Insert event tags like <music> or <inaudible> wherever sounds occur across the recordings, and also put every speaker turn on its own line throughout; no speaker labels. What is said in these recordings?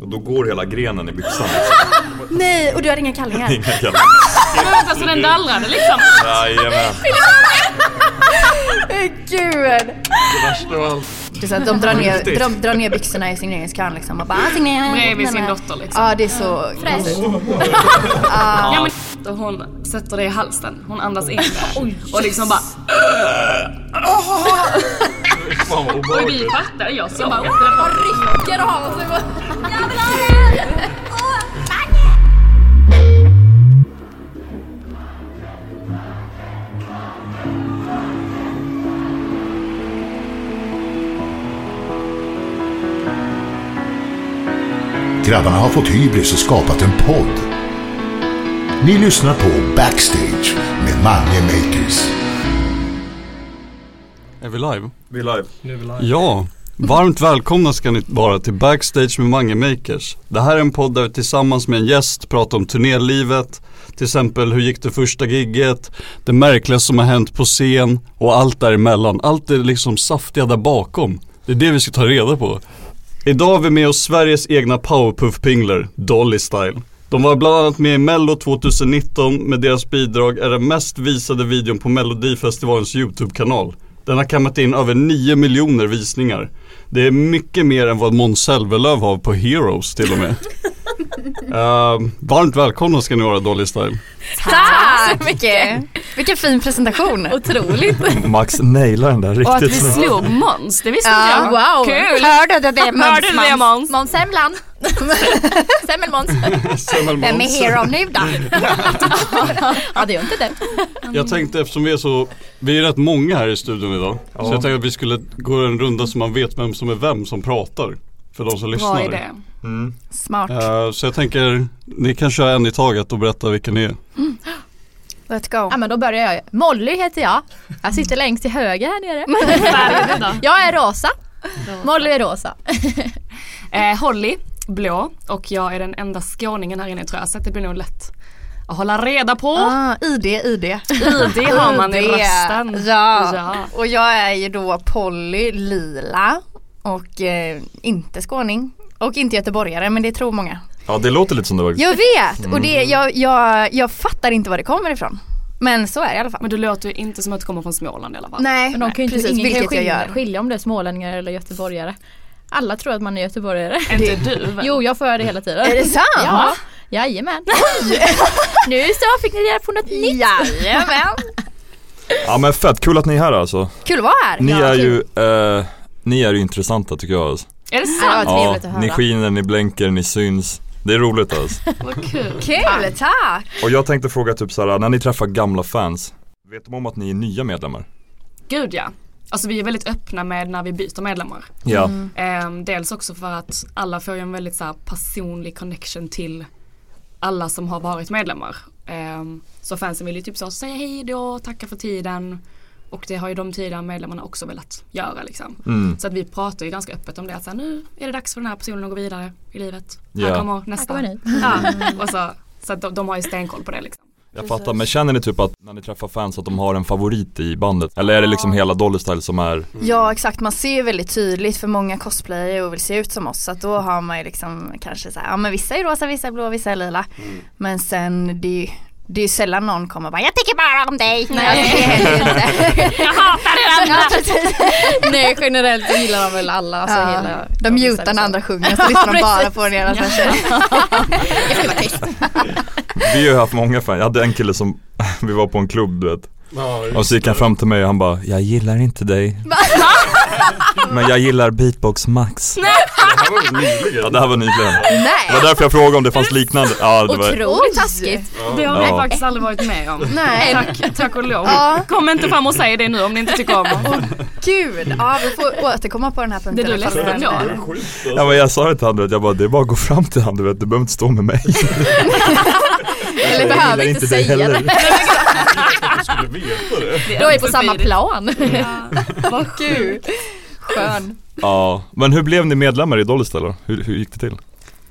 Och då går hela grenen i byxan.
liksom.
Nej, <laughs> och du hade inga kallingar. Ah!
Inga kallar.
Men vänta, så den dallrade liksom?
Jajamän.
Eh, Gud!
Värst av allt.
Det är så att de drar ner, de drar ner byxorna i signeringskön liksom och bara "Ah, signera.
Bredvid sin dotter liksom.
Ja, det är så konstigt.
Alltså. Ja, men, och hon sätter det i halsen, hon andas <laughs> in det. och liksom bara,
Fan vad
<laughs> och vi
obehagligt.
fattar, jag ser bara upp det där.
Rycker av och så bara...
Grabbarna har fått hybris och skapat en podd. Ni lyssnar på Backstage med Mange Makers.
Är vi live?
Vi är live.
Ja, varmt välkomna ska ni vara till Backstage med Mange Makers. Det här är en podd där vi tillsammans med en gäst pratar om turnélivet, till exempel hur gick det första gigget, det märkliga som har hänt på scen och allt däremellan. Allt det liksom saftiga där bakom. Det är det vi ska ta reda på. Idag har vi med oss Sveriges egna powerpuff-pingler, Dolly Style. De var bland annat med i Mello 2019 med deras bidrag är den mest visade videon på Melodifestivalens YouTube-kanal. Den har kammat in över 9 miljoner visningar. Det är mycket mer än vad Måns Zelmerlöw har på Heroes till och med. Ehm, varmt välkomna ska ni vara Dolly Style.
Tack så mycket! Vilken fin presentation.
Otroligt.
Max nailar den där riktigt
Och att vi
snyggt.
slog Måns, det visste inte jag.
wow!
Kul.
Hörde du det
Hörde du det, Måns?
Måns Semlan. Semmelmåns. Vem är hero nu då? ja, det gör inte det.
Jag tänkte eftersom vi är så, vi är rätt många här i studion idag. Så jag tänkte att vi skulle gå en runda så man vet vem som är vem som pratar. För de som lyssnar.
Bra idé.
Smart.
Eh, så jag tänker, ni kan köra en i taget och berätta vilka ni är.
Let's go.
Ja men då börjar jag. Molly heter jag. Jag sitter längst till höger här nere.
Färgen då.
<laughs> Jag är rosa. Molly är rosa.
Eh, Holly, blå och jag är den enda skåningen här inne tror jag så att det blir nog lätt att hålla reda på.
Ah, ID, ID.
ID har man i
Det-
rösten.
Ja.
Ja.
och jag är ju då Polly Lila och eh, inte skåning och inte göteborgare men det tror många.
Ja det låter lite som det var.
Jag vet och
Mm.
det, jag, jag, jag fattar inte var det kommer ifrån. Men så är det i alla fall.
Men du låter ju inte som att du kommer från Småland i alla fall.
Nej,
Men de kan ju inte,
precis
ingen kan ju
vilket jag
skilja,
gör.
skilja om det är smålänningar eller göteborgare. Alla tror att man är göteborgare.
Är Inte du väl?
Jo jag får höra det hela tiden.
Är det sant?
Ja. Jajamän. <laughs> nu så fick ni reda på något nytt. <laughs>
Jajamän.
Ja men fett, kul att ni är här alltså.
Kul att vara här.
Ni
Ja,
är
kul.
ju, eh, ni är ju intressanta tycker jag alltså.
Är det
Ja,
sant?
det var trevligt att
ni
höra.
skiner, ni blänker, ni syns. Det är roligt alltså.
Vad kul.
Kul, tack.
Och jag tänkte fråga typ såhär, när ni träffar gamla fans, vet de om att ni är nya medlemmar?
Gud ja. Alltså vi är väldigt öppna med när vi byter medlemmar.
Ja.
Mm.
Ehm, dels också för att alla får ju en väldigt så här, personlig connection till alla som har varit medlemmar. Ehm, så fansen vill ju typ så säga hej då, tacka för tiden Och det har ju de tidigare medlemmarna också velat göra liksom.
Mm.
Så att vi pratar ju ganska öppet om det att så här, nu är det dags för den här personen att gå vidare i livet.
Ja.
Här kommer nästa.
kommer ni. Mm.
Ja, och så, så att de, de har ju stenkoll på det liksom.
Jag fattar, men känner ni typ att när ni träffar fans att de har en favorit i bandet? Eller är det liksom hela Dolly Style som är
Ja exakt, man ser ju väldigt tydligt för många cosplayer och vill se ut som oss så att då har man ju liksom kanske så här, ja men vissa är rosa, vissa är blå, vissa är lila.
Mm.
Men sen det är ju det är ju sällan någon kommer och bara jag tycker bara om dig. Nej. Alltså, det händer ju
<laughs>
inte. jag hatar er andra. Ja, precis.
Nej generellt gillar de väl alla. Alltså,
Ja.
hela, liksom.
de mutar när
<laughs>
andra sjunger så lyssnar de bara på den ena sen
Vi har ju haft många fans, jag hade en kille som, <laughs> vi var på en klubb du vet Och så gick han fram till mig och han bara, jag gillar inte dig Men jag gillar beatbox max
Det här var ju
<laughs>
nyligen.
Ja det här var nyligen Det
Nej.
var därför jag frågade om det fanns liknande Ja det var,
Otroligt taskigt.
Det har vi
Ja.
faktiskt aldrig varit med om.
Nej.
Tack, tack och lov.
Ja.
Kom inte fram och säg det nu om ni inte tycker om oss.
Gud, ja vi får återkomma på den här punkten.
Blir du
i alla fall.
ledsen då?
ja, men jag sa det till han du vet, jag bara det är bara att gå fram till han du vet, du behöver inte stå med mig
Eller behöver
gillar
inte
dig
säga det.
Du skulle veta det.
<laughs> Då är vi på samma plan. <laughs>
Vad kul. Skön.
Ja, men hur blev ni medlemmar i Dolly Style då? hur, hur gick det till?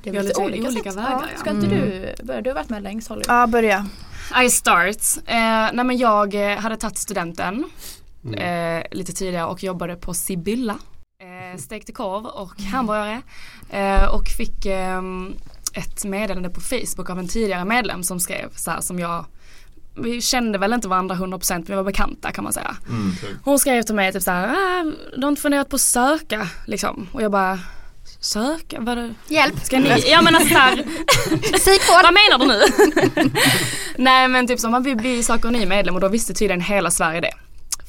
Det
Vi har lite olika
sätt.
vägar, ja.
Ska inte du börja? Du har varit med längst Holly.
Mm. Ja börja.
I start. Eh, nej men jag eh, hade tagit studenten
Mm.
eh, lite tidigare och jobbade på Sibylla. Eh, stekte korv och
Mm.
hamburgare. Eh, och fick ehm, ett meddelande på Facebook av en tidigare medlem som skrev så här som jag vi kände väl inte varandra 100% men vi var bekanta kan man säga.
Mm.
Hon skrev till mig typ såhär, ah, du har inte funderat på att söka liksom. Och jag bara, söka? Vad
Hjälp.
ska ni? alltså Jag menar såhär, vad menar du nu? <laughs> Nej men typ som man vill bli söker en ny medlem och då visste tydligen hela Sverige det.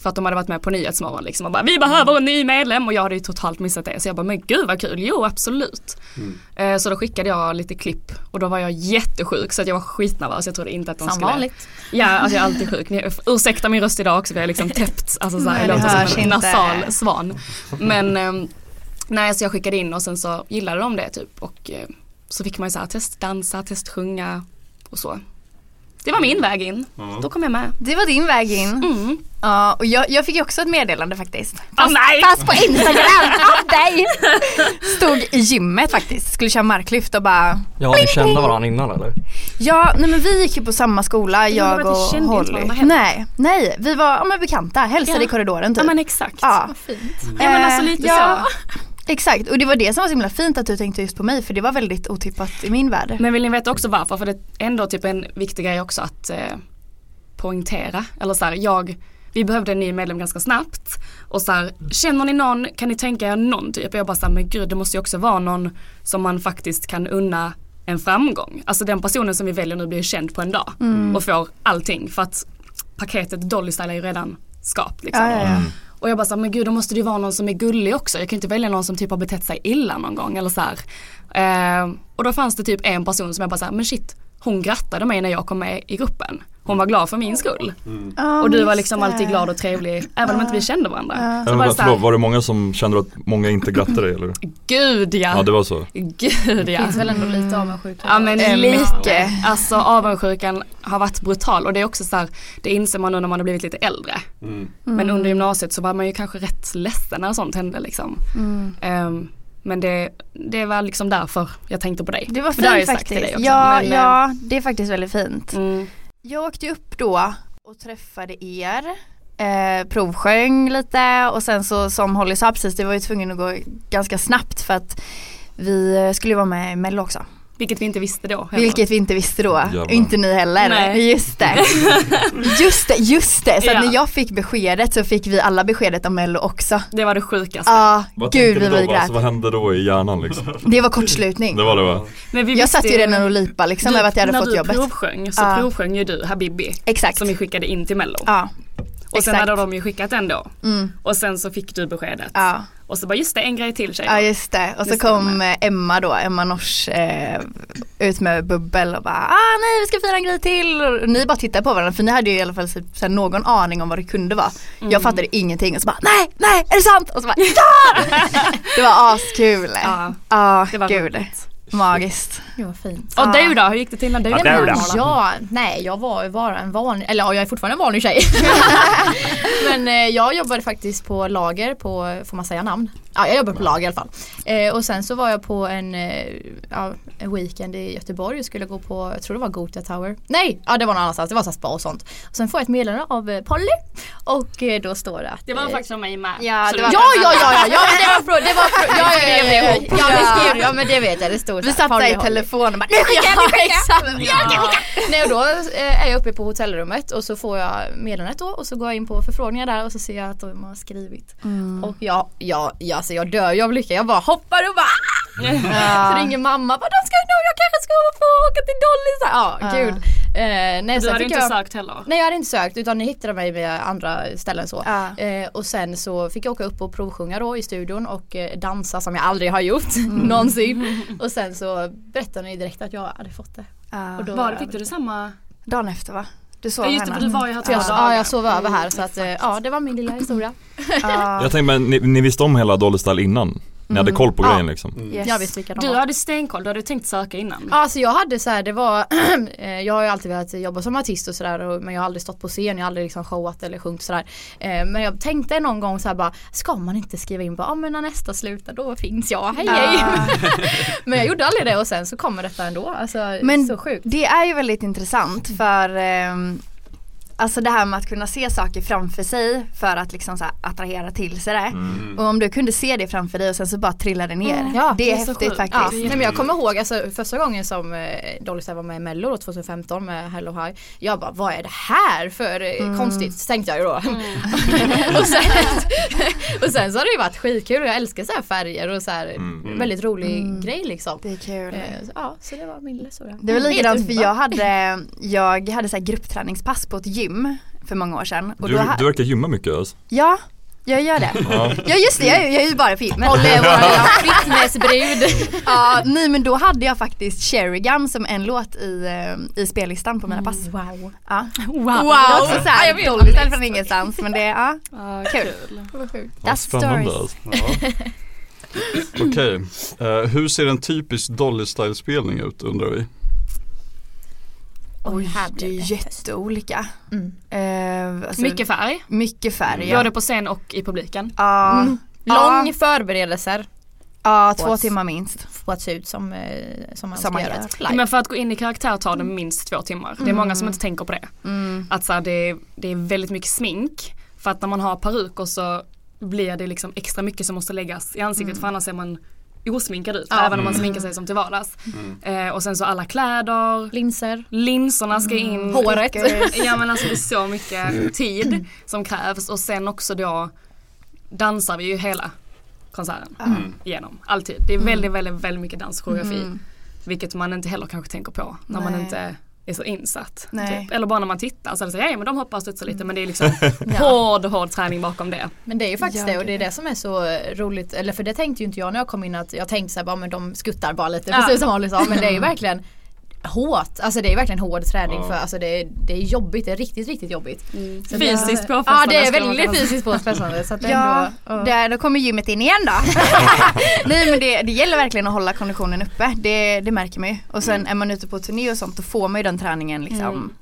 För att de hade varit med på Nyhetsmorgon liksom och bara vi behöver en ny medlem och jag hade ju totalt missat det. Så jag bara men gud vad kul, jo absolut. Eh, Så då skickade jag lite klipp och då var jag jättesjuk så att jag var skitnervös. Jag trodde inte att de
Som
skulle
vanligt.
Ja, alltså jag är alltid sjuk. Ni, ursäkta min röst idag också för jag är liksom täppt. Alltså så här,
Nej,
jag
det
låter
hörs
som en
inte.
nasal svan. Men ehm, nej, så jag skickade in och sen så gillade de det typ. Och eh, så fick man ju så här testdansa, testsjunga och så. Det var min väg in. Då kom jag med.
Det var din väg in.
Mm.
Ja, och jag, jag fick ju också ett meddelande faktiskt.
Åh, nej!
Fast på
<laughs>
Instagram av dig! Stod i gymmet faktiskt, skulle köra marklyft och bara
Ja, ni kände varandra innan eller?
Ja, nej men vi gick ju på samma skola,
men
jag
vi kände ju
och Holly.
inte varandra heller.
Nej, nej, vi var ja, men bekanta, hälsade
Ja.
i korridoren typ.
Ja men exakt.
ja.
Vad fint.
Ja, men alltså
Eh,
lite
ja.
så.
Exakt, och det var det som var så himla fint att du tänkte just på mig för det var väldigt otippat i min värld.
Men vill ni veta också varför? För det är ändå typ en viktig grej också att eh, poängtera. Eller så här, jag, vi behövde en ny medlem ganska snabbt. Och så här, känner ni någon, kan ni tänka er någon typ? Och jag bara så här, men gud det måste ju också vara någon som man faktiskt kan unna en framgång. Alltså den personen som vi väljer nu blir ju känd på en dag.
Mm.
Och får allting. För att paketet Dolly Style är ju redan skapt liksom.
Ja, ja, ja.
Och jag bara såhär, men gud då måste det ju vara någon som är gullig också. Jag kan ju inte välja någon som typ har betett sig illa någon gång eller såhär. Eh, och då fanns det typ en person som jag bara såhär, men shit, hon grattade mig när jag kom med i gruppen. Hon var glad för min skull.
Ja,
och du var
just
liksom
det.
alltid glad och trevlig, även om inte vi kände varandra. Så
Eller,
bara
vänta,
såhär,
förlåt, var det många som kände att många inte grattade dig eller?
gud ja.
Ja det var så
Gud ja.
Det finns väl ändå lite avundsjuka.
Ja men
Eh,
lite.
mycket.
Alltså avundsjukan har varit brutal och det är också så här, det inser man nu när man har blivit lite äldre.
Mm.
Mm.
Men under gymnasiet så var man ju kanske rätt ledsen när sånt hände liksom.
Mm.
Ehm, men det, det var liksom därför jag tänkte på dig.
Det var
För har jag
fint
ju sagt till dig
faktiskt.
också,
Ja,
men, eh,
ja, det är faktiskt väldigt fint.
Mm.
Jag åkte ju upp då och träffade er, eh, provsjöng lite och sen så som Holly sa precis, det var ju tvungen att gå ganska snabbt för att vi eh, skulle vara med i Mello också.
Vilket vi inte visste då. heller.
Vilket vi inte visste då,
Jävlar.
inte ni heller.
Nej.
Just
<laughs>
det. Just det, just det. Så att
Ja.
när jag fick beskedet så fick vi alla beskedet om Mello också.
Det var det sjukaste.
Ja, gud vi
tänkte
var
ni
ju
då? Alltså,
grät.
vad hände då i hjärnan liksom?
Det var kortslutning.
Det var det va?
Men vi
Jag
visste
satt ju redan och lipade liksom över att jag hade
när
fått
du
jobbet.
provsjöng så
Ja.
provsjöng ju du Habibi.
Exakt.
Som vi skickade in till mello.
Ja,
och sen
exakt.
hade de ju skickat den då.
Mm.
Och sen så fick du beskedet.
ja.
Och så bara just det en grej till tjejer.
Ja just det, och så
Just det,
kom eh, Emma då, Emma Nors eh, ut med bubbel och bara ah nej vi ska fira en grej till och ni bara tittade på varandra för ni hade ju i alla fall typ så så här någon aning om vad det kunde vara.
Mm.
Jag fattade ingenting och så bara nej,
<laughs>
nej är det sant? Och så bara ja! det var askul.
Ja,
Ja,
det var
gud.
roligt.
Magiskt.
Jo, vad fint.
Och du då, hur gick det till när du
Nej,
blev
men,
målad?
ja, nej jag var ju bara en vanlig, eller ja, jag är fortfarande en vanlig tjej. men eh, jag jobbade faktiskt på lager på, får man säga namn? Ja, jag jobbade på lager i alla fall. Eh, och sen så var jag på en, eh, ja, en weekend i Göteborg och skulle gå på, jag tror det var Gotia Tower. Nej, ja det var någon annanstans, det var så här spa och sånt. Och sen får jag ett meddelande av eh, Polly och eh, då står det att
Det var
eh,
faktiskt av mig med.
Ja, det
Så du-
var ja, ja, ja, ja, ja, men det var från, det
<laughs>
var från, ja, ja, ja, ja, ja, ja, vi skrev det, ja, men det vet jag, det stod
Vi satt där i telefonen och bara, nu skickar jag, nu skickar jag.
Ja. <laughs> Nej och då eh, är jag uppe på hotellrummet och så får jag meddelandet då och så går jag in på förfrågningar där och så ser jag att de har skrivit.
Mm.
Mm. <laughs>
Och jag, jag, jag, alltså jag dör ju av lycka, jag bara hoppar och bara ah! <laughs> Så ringer mamma, bara, de ska, no, jag kanske ska få åka till Dolly. Så, här, ja,
Ah.
gud. Eh, nej,
Du
sen
hade
fick
inte
jag,
sökt heller.
Nej jag hade inte sökt utan ni hittade mig via andra ställen så.
Ja.
Eh, och sen så fick jag åka upp och provsjunga då i studion och eh, dansa som jag aldrig har gjort
Mm.
<laughs>
<laughs>
någonsin. Och sen så berättade ni direkt att jag hade fått det.
Ja.
Och då
Var, fick du det samma?
Dagen efter va? Du sov
Ja just det,
hemma.
för du var ju här
Så
två
jag,
dagar.
ja, jag sov över här så att eh, ja det var min lilla historia.
<laughs> Ja.
Jag tänkte men ni, ni visste om hela Dolly Style innan? Ni hade koll på
Mm. Ja.
grejen liksom?
Mm. Yes.
Jag visste vilka de
Du
var.
hade stenkoll, du hade tänkt söka innan.
Ja, alltså jag hade så här, det var, <clears throat> eh, jag har ju alltid velat jobba som artist och sådär men jag har aldrig stått på scen, jag har aldrig liksom showat eller sjungit sådär. Eh, Men jag tänkte någon gång så här bara, ska man inte skriva in bara, ah, men när nästa slutar då finns jag, hej hej. <laughs> men jag gjorde aldrig det och sen så kommer detta ändå, alltså
Men
så sjukt.
Det är ju väldigt intressant för ehm, Alltså det här med att kunna se saker framför sig för att liksom så här attrahera till sig det.
Mm.
Och om du kunde se det framför dig och sen så bara trillade ner.
Ja,
det är
så
häftigt
sjukt. Ja.
faktiskt.
Mm. Nej, men jag kommer ihåg alltså, första gången som eh, Dolly Style var med i Mello då, 2015 med Hello High. Jag bara, vad är det här för eh,
Mm.
konstigt? Tänkte jag ju då. <laughs> och, sen, och sen så har det ju varit skitkul och jag älskar så här färger och så här väldigt rolig grej liksom.
Mm. Det är kul.
Eh, så- Ja, så Mm, det var min lilla historia.
Det var
Helt
likadant för
underbart.
jag
<laughs>
hade, jag hade så här gruppträningspass på ett gym för många år sedan. Och
Du,
då ha-
du verkar gymma mycket alltså.
Ja, jag gör det.
Ja.
Ja just det, jag är, jag är ju bara på gymmet.
Polly är vår lilla fitnessbrud.
Ja, nej men då hade jag faktiskt Cherry Gum som en låt i, eh, i spellistan på mina pass.
Wow.
Ja.
Wow!
Det var också såhär Dolly Style från ingenstans men det, ja.
Ah,
Kul.
kul.
<laughs>
Ja,
That's
spännande
stories.
alltså.
Ja. Okej, Eh, hur ser en typisk Dolly Style-spelning ut undrar vi?
Och här
det
blev
är
det.
jätteolika.
Mm.
Eh, alltså,
Mycket färg,
mycket färg. Ja,
både på scen och i publiken.
ja
Mm. Lång förberedelser
ja, två
What?
timmar minst.
på att se ut som, eh, som
<laughs>
man
Som
ska
man
göra
gör.
ett live.
Men för att gå in i karaktär tar det minst två timmar. Det är många som inte tänker på det.
Mm.
Att så här, det, är, det är väldigt mycket smink. För att när man har peruker så blir det liksom extra mycket som måste läggas i ansiktet för annars ser man osminkad ut. Även om man sminkar sig som till vardags.
Mm.
Eh, och sen så alla kläder,
Linser.
linserna ska in.
Mm.
Håret.
<laughs> Ja men alltså det är så mycket tid som krävs och sen också då dansar vi ju hela konserten
Mm.
igenom. Alltid. Det är väldigt, väldigt, väldigt mycket danskoreografi. Vilket man inte heller kanske tänker på när man
Nej.
inte är så insatt.
Nej. Mm.
Typ. Eller bara när man tittar så är det så, ja ja, men de hoppar och studsar lite men det
<laughs>
är liksom hård, hård träning bakom det.
Men det är ju faktiskt
Ja,
det och det är
det.
det som är så eh, roligt, eller för det tänkte ju inte jag när jag kom in att jag tänkte såhär, bara men de skuttar bara lite
Ja.
precis som Holly sa men det är
<laughs>
ju verkligen hårt, alltså det är verkligen hård träning
Ja.
för alltså det är, det är jobbigt, det är riktigt riktigt jobbigt.
Mm.
Så det-
Fysiskt påfrestande.
Ja det är
skulle man
väldigt
kunna säga.
fysiskt påfrestande så att det är
Ja,
ändå,
där, då kommer gymmet in igen då. Nej men det, det gäller verkligen att hålla konditionen uppe, det, det märker man ju. Och sen är man ute på turné och sånt då får man ju den träningen liksom.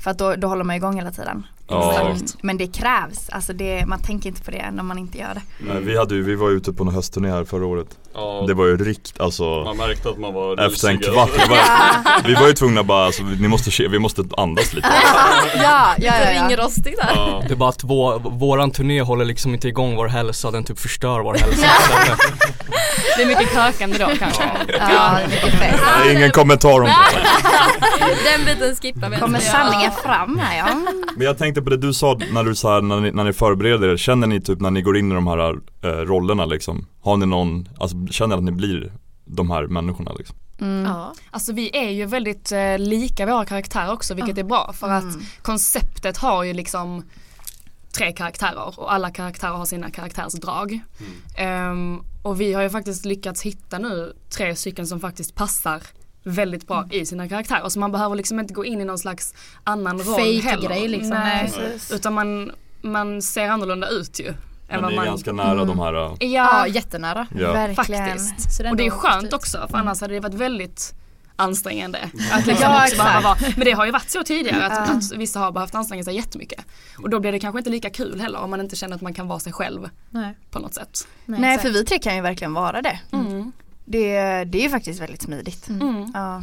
För att då, då håller man igång hela tiden.
Ja.
Men, men det krävs, alltså det, man tänker inte på det när man inte gör det.
Nej, vi, hade ju, vi var ute på en höstturné här förra året.
Ja,
Det var ju rikt, alltså
man märkte att man var
efter en
risig,
kvart.
alltså.
Vi var, vi var ju tvungna bara, alltså, vi- ni måste, ke- vi måste
<laughs>
andas lite.
Ja, ja, ja, ja.
ringrostig där.
Ja.
Det är bara att vår, våran turné håller liksom inte igång vår hälsa, den typ förstör vår hälsa. Så att,
Det är mycket krökande då kanske.
Ja, mycket fest.
Det är ingen kommentar om det.
Den biten skippar vi.
Kommer sanningen fram här ja.
Men jag tänkte på det du sa när du, så här, när ni, när ni förbereder er, känner ni typ när ni går in i de här eh, rollerna liksom? Har ni någon, alltså känner ni att ni blir de här människorna liksom?
Ja.
Alltså vi är ju väldigt eh, lika våra karaktärer också vilket är bra för
Mm.
att konceptet har ju liksom tre karaktärer och alla karaktärer har sina karaktärsdrag.
Mm.
Ehm, och vi har ju faktiskt lyckats hitta nu tre stycken som faktiskt passar väldigt
Mm.
bra i sina karaktärer. Så man behöver liksom inte gå in i någon slags annan roll
Fake
heller.
grej liksom.
Nej.
Nej.
Utan man, man ser annorlunda ut ju.
Men
än vad
ni är
man... Mm.
ganska nära de här äh,
Ja, jättenära.
Ja.
Verkligen.
Faktiskt.
Så det är
Och det är
ändå
skönt också för annars hade det varit väldigt ansträngande.
Mm.
Att liksom
Ja,
också bara
exakt.
vara, men det har ju varit så tidigare att,
Ja.
att vissa har behövt anstränga sig jättemycket. Och då blir det kanske inte lika kul heller om man inte känner att man kan vara sig själv
Nej.
på något sätt.
Nej, för vi tre kan ju verkligen vara det. Det, det är ju faktiskt väldigt smidigt.
Mm.
Ja.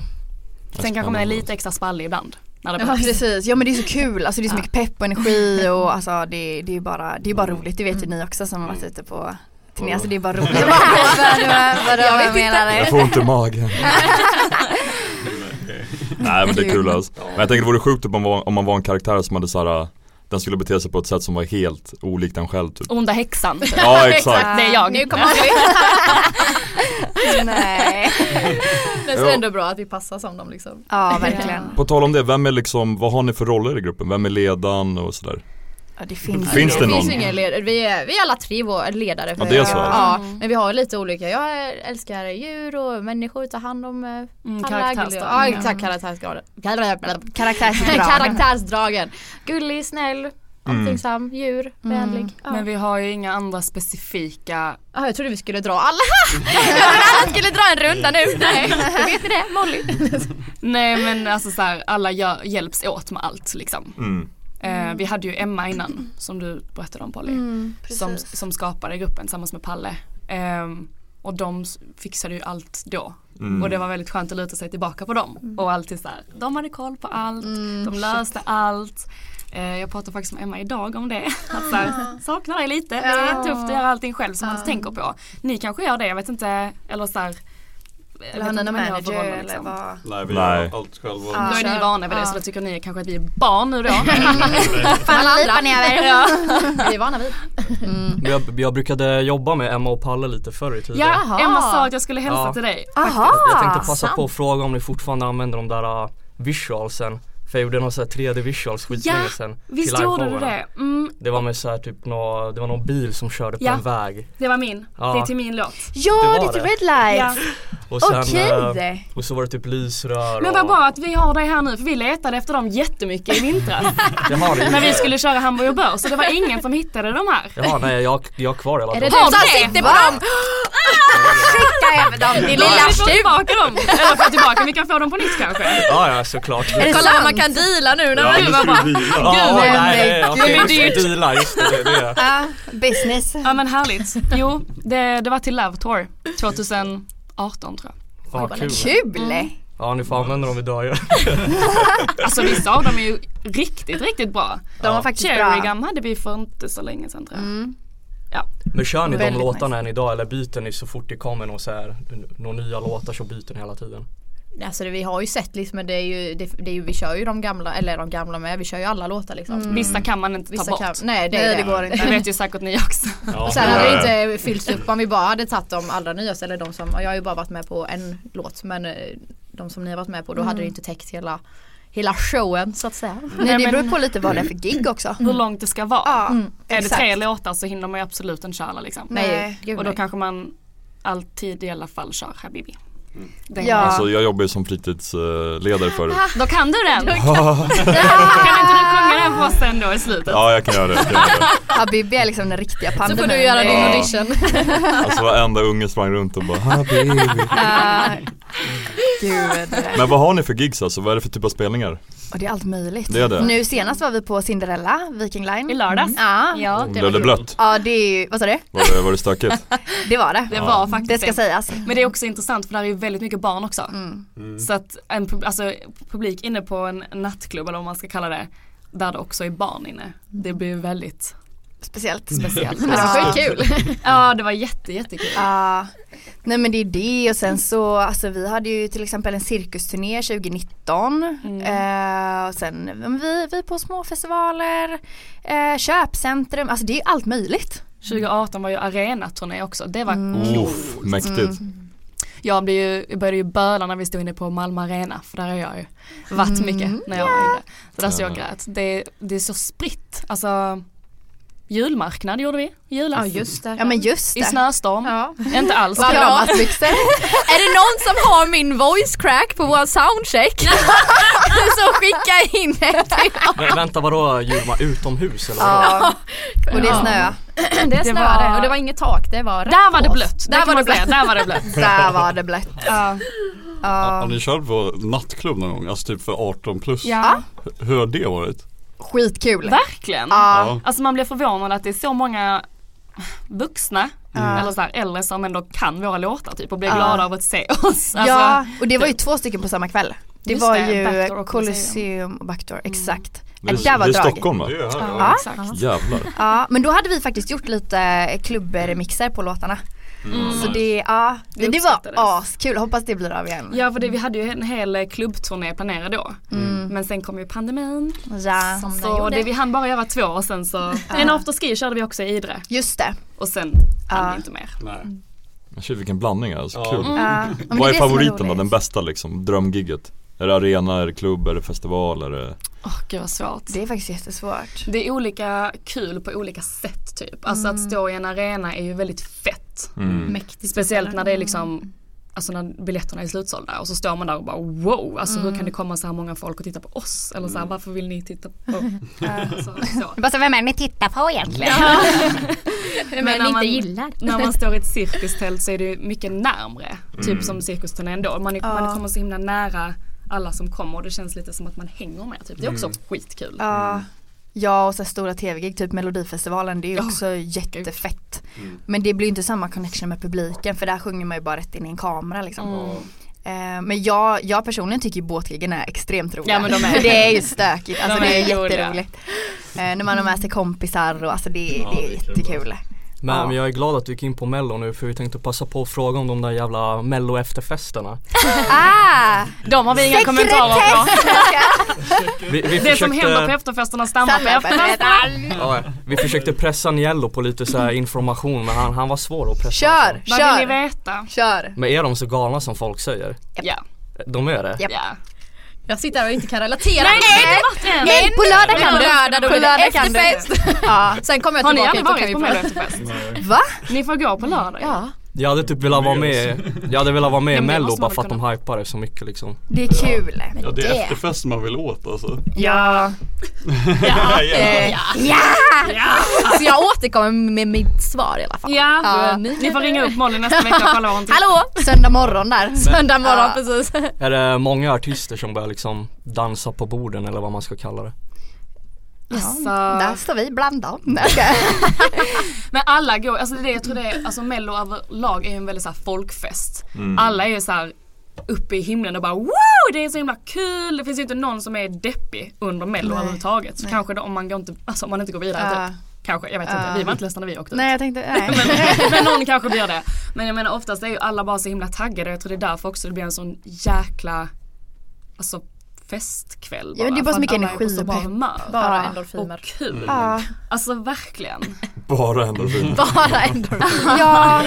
Sen kanske man är lite extra spallig ibland. När det
Ja
behövs.
precis, ja men det är så kul, alltså det är så mycket pepp och
<laughs>
energi och alltså det, det är ju bara, det är
Mm.
bara roligt, det vet ju ni också som har varit ute på turné, alltså det är
Oh.
bara
<laughs>
roligt.
vadå,
Jag
vad
vet
menar
inte.
du?
Jag får ont i magen. <laughs> Nej men det är kul alltså. Men jag tänker det vore sjukt typ, om, man var- om man var en karaktär som hade såhär äh, Den skulle bete sig på ett sätt som var helt olikt en själv typ.
Onda häxan. <laughs>
Ja, exakt.
Det är jag.
Nu kommer vi.
<laughs>
<laughs>
<laughs>
Nej.
Men så är
Ja.
<laughs> det ändå bra att vi passar som dem liksom.
Ja verkligen.
På tal om det, vem är liksom, vad har ni för roller i gruppen? Vem är ledaren och sådär?
Ja, det finns,
Finns
ju-
det
Det finns
någon?
ju ingen ledare, vi är, vi är alla tre vår ledare.
Ja, det är så.
Ja, men vi har lite olika. Jag älskar djur och människor, ta hand om eh, alla.
karaktärsdrag.
gulliga- Ja
Mm.
exakt, karaktärsgraden.
Karaktärsdrag.
Karaktärsdragen. Gullig, snäll,
Mm.
omtänksam, djur, vänlig. Ja.
Mm. Men vi har ju inga andra specifika
Ja, jag trodde vi skulle dra alla. <laughs> jag skulle dra en runda
<laughs>
nu. Nej, då vet ni det, Molly.
Nej men alltså så här, alla gör, hjälps åt med allt liksom.
Mm.
Eh, vi hade ju Emma innan som du berättade om Polly.
Mm,
som, som skapade gruppen tillsammans med Palle. Ehm, och de s- fixade ju allt då.
Mm.
Och det var väldigt skönt att luta sig tillbaka på dem.
Mm.
Och alltid så här, de hade koll på allt,
Mm,
de löste allt. Eh, jag pratade faktiskt med Emma idag om det. Att så här, saknar dig lite, det är tufft att göra allting själv som man inte tänker på. Ni kanske gör det, jag vet inte. Eller så här, jag
Eller har
vet
ni
inte
någon
vad ni har för
manager
roller,
eller
liksom.
vad?
Nej vi
Nej.
gör allt själva.
Ja.
Då är ni
Kör.
vana vid det så
Ja.
då tycker ni kanske att vi är
<laughs>
barn nu då.
Fan lipan är över. <laughs>
<laughs>
Vi är vana vid.
Men Mm. Jag, jag brukade jobba med Emma och Palle lite förr i tiden.
Jaha.
Emma sa att jag skulle hälsa
Ja.
till dig.
Aha,
Jag tänkte passa på att fråga om ni fortfarande använder de där uh, visualsen. För jag gjorde någon sån här 3D visuals skitlänge
Ja,
sedan. till
Visst gjorde du
liveshowerna.
det? Mm,
Det var med så här typ nå, det var någon bil som körde på
Ja.
en väg.
det var min.
Ja.
Det är till min låt.
Det
Ja det
var
är till
det.
Red Lights.
Och
Okej.
eh, och så var det typ lysrör
Men vad
och...
bra att vi har dig här nu för vi letade efter dem jättemycket i vintras.
Jaha, <laughs> det
när vi skulle köra Hamburg och Börs så det var ingen som hittade de här.
Jaha, nej jag, jag har kvar alla
Är det
dem.
du som
det?
sitter på dem?
Skicka över dem din lilla
Då kan vi få
tjuv.
tillbaka dem. Eller få tillbaka, vi kan få dem på nytt kanske.
Ja, ja såklart.
Är
Kolla
det
vad
sant?
man kan deala nu när
Ja,
man
nu ska du vila.
Ja,
Gud,
oj,
men
nej, nej, okej,
gud.
just det, bilar, just det, det, det.
Ja, business.
Ja men härligt. Jo, det, det var till Love Tour 2018 tror jag. Mm.
Fan, kul.
Kul!
Ja, ni får använda dem idag ju.
Alltså vissa av dem är ju riktigt, riktigt bra.
De var faktiskt bra. Mm.
Cherrygum hade vi för inte så länge sedan tror jag.
Men kör ni de
Väldigt
låtarna än idag eller byter ni så fort det kommer någon så här, några nya låtar så byter ni hela tiden?
Alltså det, vi har ju sett liksom, men det är ju, det, det är ju, vi kör ju de gamla, eller de gamla med, vi kör ju alla låtar liksom.
Vissa kan man inte ta
Vissa
bort.
kan, nej det, är
Mm. Nej,
det
det går
Det vet ju säkert ni också.
Ja,
Sen hade
det-
det inte fyllts upp om vi bara hade tagit de allra nyaste eller de som, jag har ju bara varit med på en låt men eh, de som ni har varit med på då hade det ju inte täckt hela, hela showen så att säga.
Mm. Nej, det beror på lite vad det är för gig också.
Hur långt det ska vara.
Ja,
Är det
exakt.
tre låtar så hinner man ju absolut inte köra alla liksom.
Nej, gud
Och då
nej.
kanske man alltid i alla fall kör Habibi. Den
Ja.
Alltså jag jobbar ju som fritidsledare förut.
Då kan du den! kan inte du sjunga den för oss sen då i slutet?
Ja jag kan göra det. Jag kan göra
<laughs>
det.
Habibi är liksom den riktiga pandemin.
Så får du göra din
Ja.
audition.
Alltså varenda unge sprang runt och bara "Ah, baby. <laughs>
Ja. Gud.
Men vad har ni för gigs alltså? Vad är det för typ av spelningar?
Och det är allt möjligt.
Det är det.
Nu senast var vi på Cinderella, Viking Line.
I lördags.
Ja.
Ja,
Blev det blött?
Ja det är ju, vad sa du?
Var det, var det stökigt?
<laughs> Det var det.
Det var faktiskt
Det ska sägas.
Men det är också intressant för där är ju väldigt mycket barn också. Så att en pub- alltså, publik inne på en nattklubb eller vad man ska kalla det där det också är barn inne. Det blir ju väldigt
Speciellt.
<laughs>
<laughs>
speciellt.
Alltså
Ja.
skitkul.
<laughs> ja det var jätte, jättekul.
Ja. Nej men det är det och sen så, alltså vi hade ju till exempel en cirkusturné 2019
Mm.
eh, och sen ja, men vi, vi är på små festivaler, eh, köpcentrum, alltså det är ju allt möjligt.
2018 var ju arenaturné också. Det var
Oof, mäktigt.
Jag blev ju, jag började ju böla när vi stod inne på Malmö Arena för där har jag ju
Mm.
varit mycket när jag var yngre. Så där stod jag och grät. Det, det är så spritt, alltså Julmarknad gjorde vi, julafton.
Ja, just det.
Ja, men just
I
det.
snöstorm. Inte alls
Vad bra. <laughs>
Är det någon som har min voice crack på vår soundcheck? så skicka in det till oss.
Men vänta vadå Julma, utomhus eller vadå?
Ja.
Och det snöade.
Det
Det
snöade
var-
och det var inget tak, det var
Där var det
rätt
blött, det
Där
kan
var det
man säga.
blött.
Där var det
<laughs>
blött.
Där var det blött. Ja.
Har ni kört på nattklubb någon gång? Alltså typ för 18 plus?
Ja.
H- Hur har det varit?
Skitkul.
Verkligen.
Ja.
Alltså man blir förvånad att det är så många vuxna
Ja.
eller så här äldre som ändå kan våra låtar typ och blir
Ja.
glada av att se oss. Alltså,
ja, och det var ju två stycken på samma kväll. Det
Just
var
det, Backdoor
ju
och Mm.
Colosseum och Backdoor, exakt.
Det är,
Äh, där var
det är
drag.
Stockholm va?
Det är här,
Ja,
ja.
exakt.
Jävlar.
Ja, men då hade vi faktiskt gjort lite klubbremixer på låtarna. Så det, ja, det, det var
uppskattades.
askul, hoppas det blir av igen.
Ja för det, vi hade ju en hel eh, klubbturné planerad då. Men sen kom ju pandemin.
Mm. Ja.
Som den
Så
gjorde.
det, vi hann bara göra två och sen så. En afterski körde vi också i Idre.
Just det.
Och sen
Ja. Mm.
hann vi inte mer.
Nej.
Shit vilken blandning alltså, kul.
Ja, men det
Vad är
det som
favoriten då?
roligt.
Den bästa liksom, drömgigget? Är det arena, är det klubb, är det festival, är det...
Åh gud vad svårt.
Det är faktiskt jättesvårt.
Det är olika kul på olika sätt typ. Alltså
Mm.
att stå i en arena är ju väldigt fett.
Mm.
Mäktigt.
Speciellt när det är liksom Alltså när biljetterna är slutsålda och så står man där och bara wow, alltså hur
Mm.
kan det komma så här många folk och titta på oss? Eller så här, varför vill ni titta
<laughs>
på alltså, så.
Bara så, vem är det ni tittar på egentligen?
Men,
när
inte
man-
gillar.
När
<laughs>
man står i ett cirkustält så är det ju mycket närmre,
Mm.
typ som cirkusturnén då. Man, är, man kommer så himla nära alla som kommer och det känns lite som att man hänger med typ. Det är också
Mm.
skitkul.
Ja. Ja och så här stora tv-gig, typ melodifestivalen det är ju också jättefett.
Mm.
Men det blir ju inte samma connection med publiken för där sjunger man ju bara rätt in i en kamera liksom.
Mm.
Eh, Men jag, jag personligen tycker ju båtgiggen är extremt roliga.
Ja, men de är-
För <laughs> det är
<laughs>
ju stökigt, alltså
De
det är
är roliga.
jätteroligt. Eh, När man har med sig kompisar och alltså det, det är
det är kul.
jättekul.
Men,
Ja.
men jag är glad att du gick in på mello nu för vi tänkte passa på att fråga om de där jävla mello efterfesterna
Ah,
De har vi inga kommentarer på.
<laughs> vi, vi
Det som händer på efterfesterna stannar på efterfesterna.
ja, Vi försökte pressa Niello på lite så här information men han, han var svår att pressa
Kör,
alltså.
Vad vill ni
kör,
veta?
kör.
Men är de så galna som folk säger?
Ja.
De är det?
Japp.
ja.
Jag sitter här och inte kan relatera.
Nej, nej, det var inte en.
Nej, på lördag kan
På
du.
lördag då
På
blir det
lördag kan du.
efterfest.
Ja.
Sen kommer jag
Har ni
tillbaka
aldrig
hit och kan
varit
vi
på Mello
prata.
efterfest?
Va?
Ni får gå på lördag.
Ja.
Jag hade typ velat vara med Jag hade velat vara med
Ja,
i
men det
mello
måste
bara
man
för att
väl
de hypar det så mycket liksom
Det är kul.
Ja, det är efterfest man vill åt alltså.
Ja.
<laughs> Ja.
Eh, Så jag återkommer med mitt svar i alla fall.
Ja. Ni får ringa upp Molly nästa vecka och kolla vad hon tycker.
Hallå!
Söndag morgon där.
Söndag morgon
Ja.
precis.
Är det många artister som börjar liksom dansa på borden eller vad man ska kalla det?
Alltså,
Där står vi bland dem.
Men alla går, alltså det, jag tror det är, alltså mello överlag är ju en väldigt så här folkfest.
Mm.
Alla är ju så här uppe i himlen och bara wow det är så himla kul. Det finns ju inte någon som är deppig under mello
Nej.
överhuvudtaget. Så kanske då, om man, går inte, alltså, om man inte går vidare
Ja.
typ. Kanske, jag vet
Ja.
inte. Vi var inte ledsna när vi åkte
Nej jag tänkte, nej.
ut. <laughs> Men någon kanske blir det. Men jag menar oftast är ju alla bara så himla taggade och jag tror det är därför också det blir en sån jäkla alltså festkväll
Ja, det är bara
För
så
att
mycket
alla är på
energi
så
och
bra
pepp.
humör.
Bara
Ja.
Och
endorfiner.
Mm.
kul.
Ja.
Alltså verkligen.
Bara endorfiner.
<laughs> Bara endorfiner.
ja,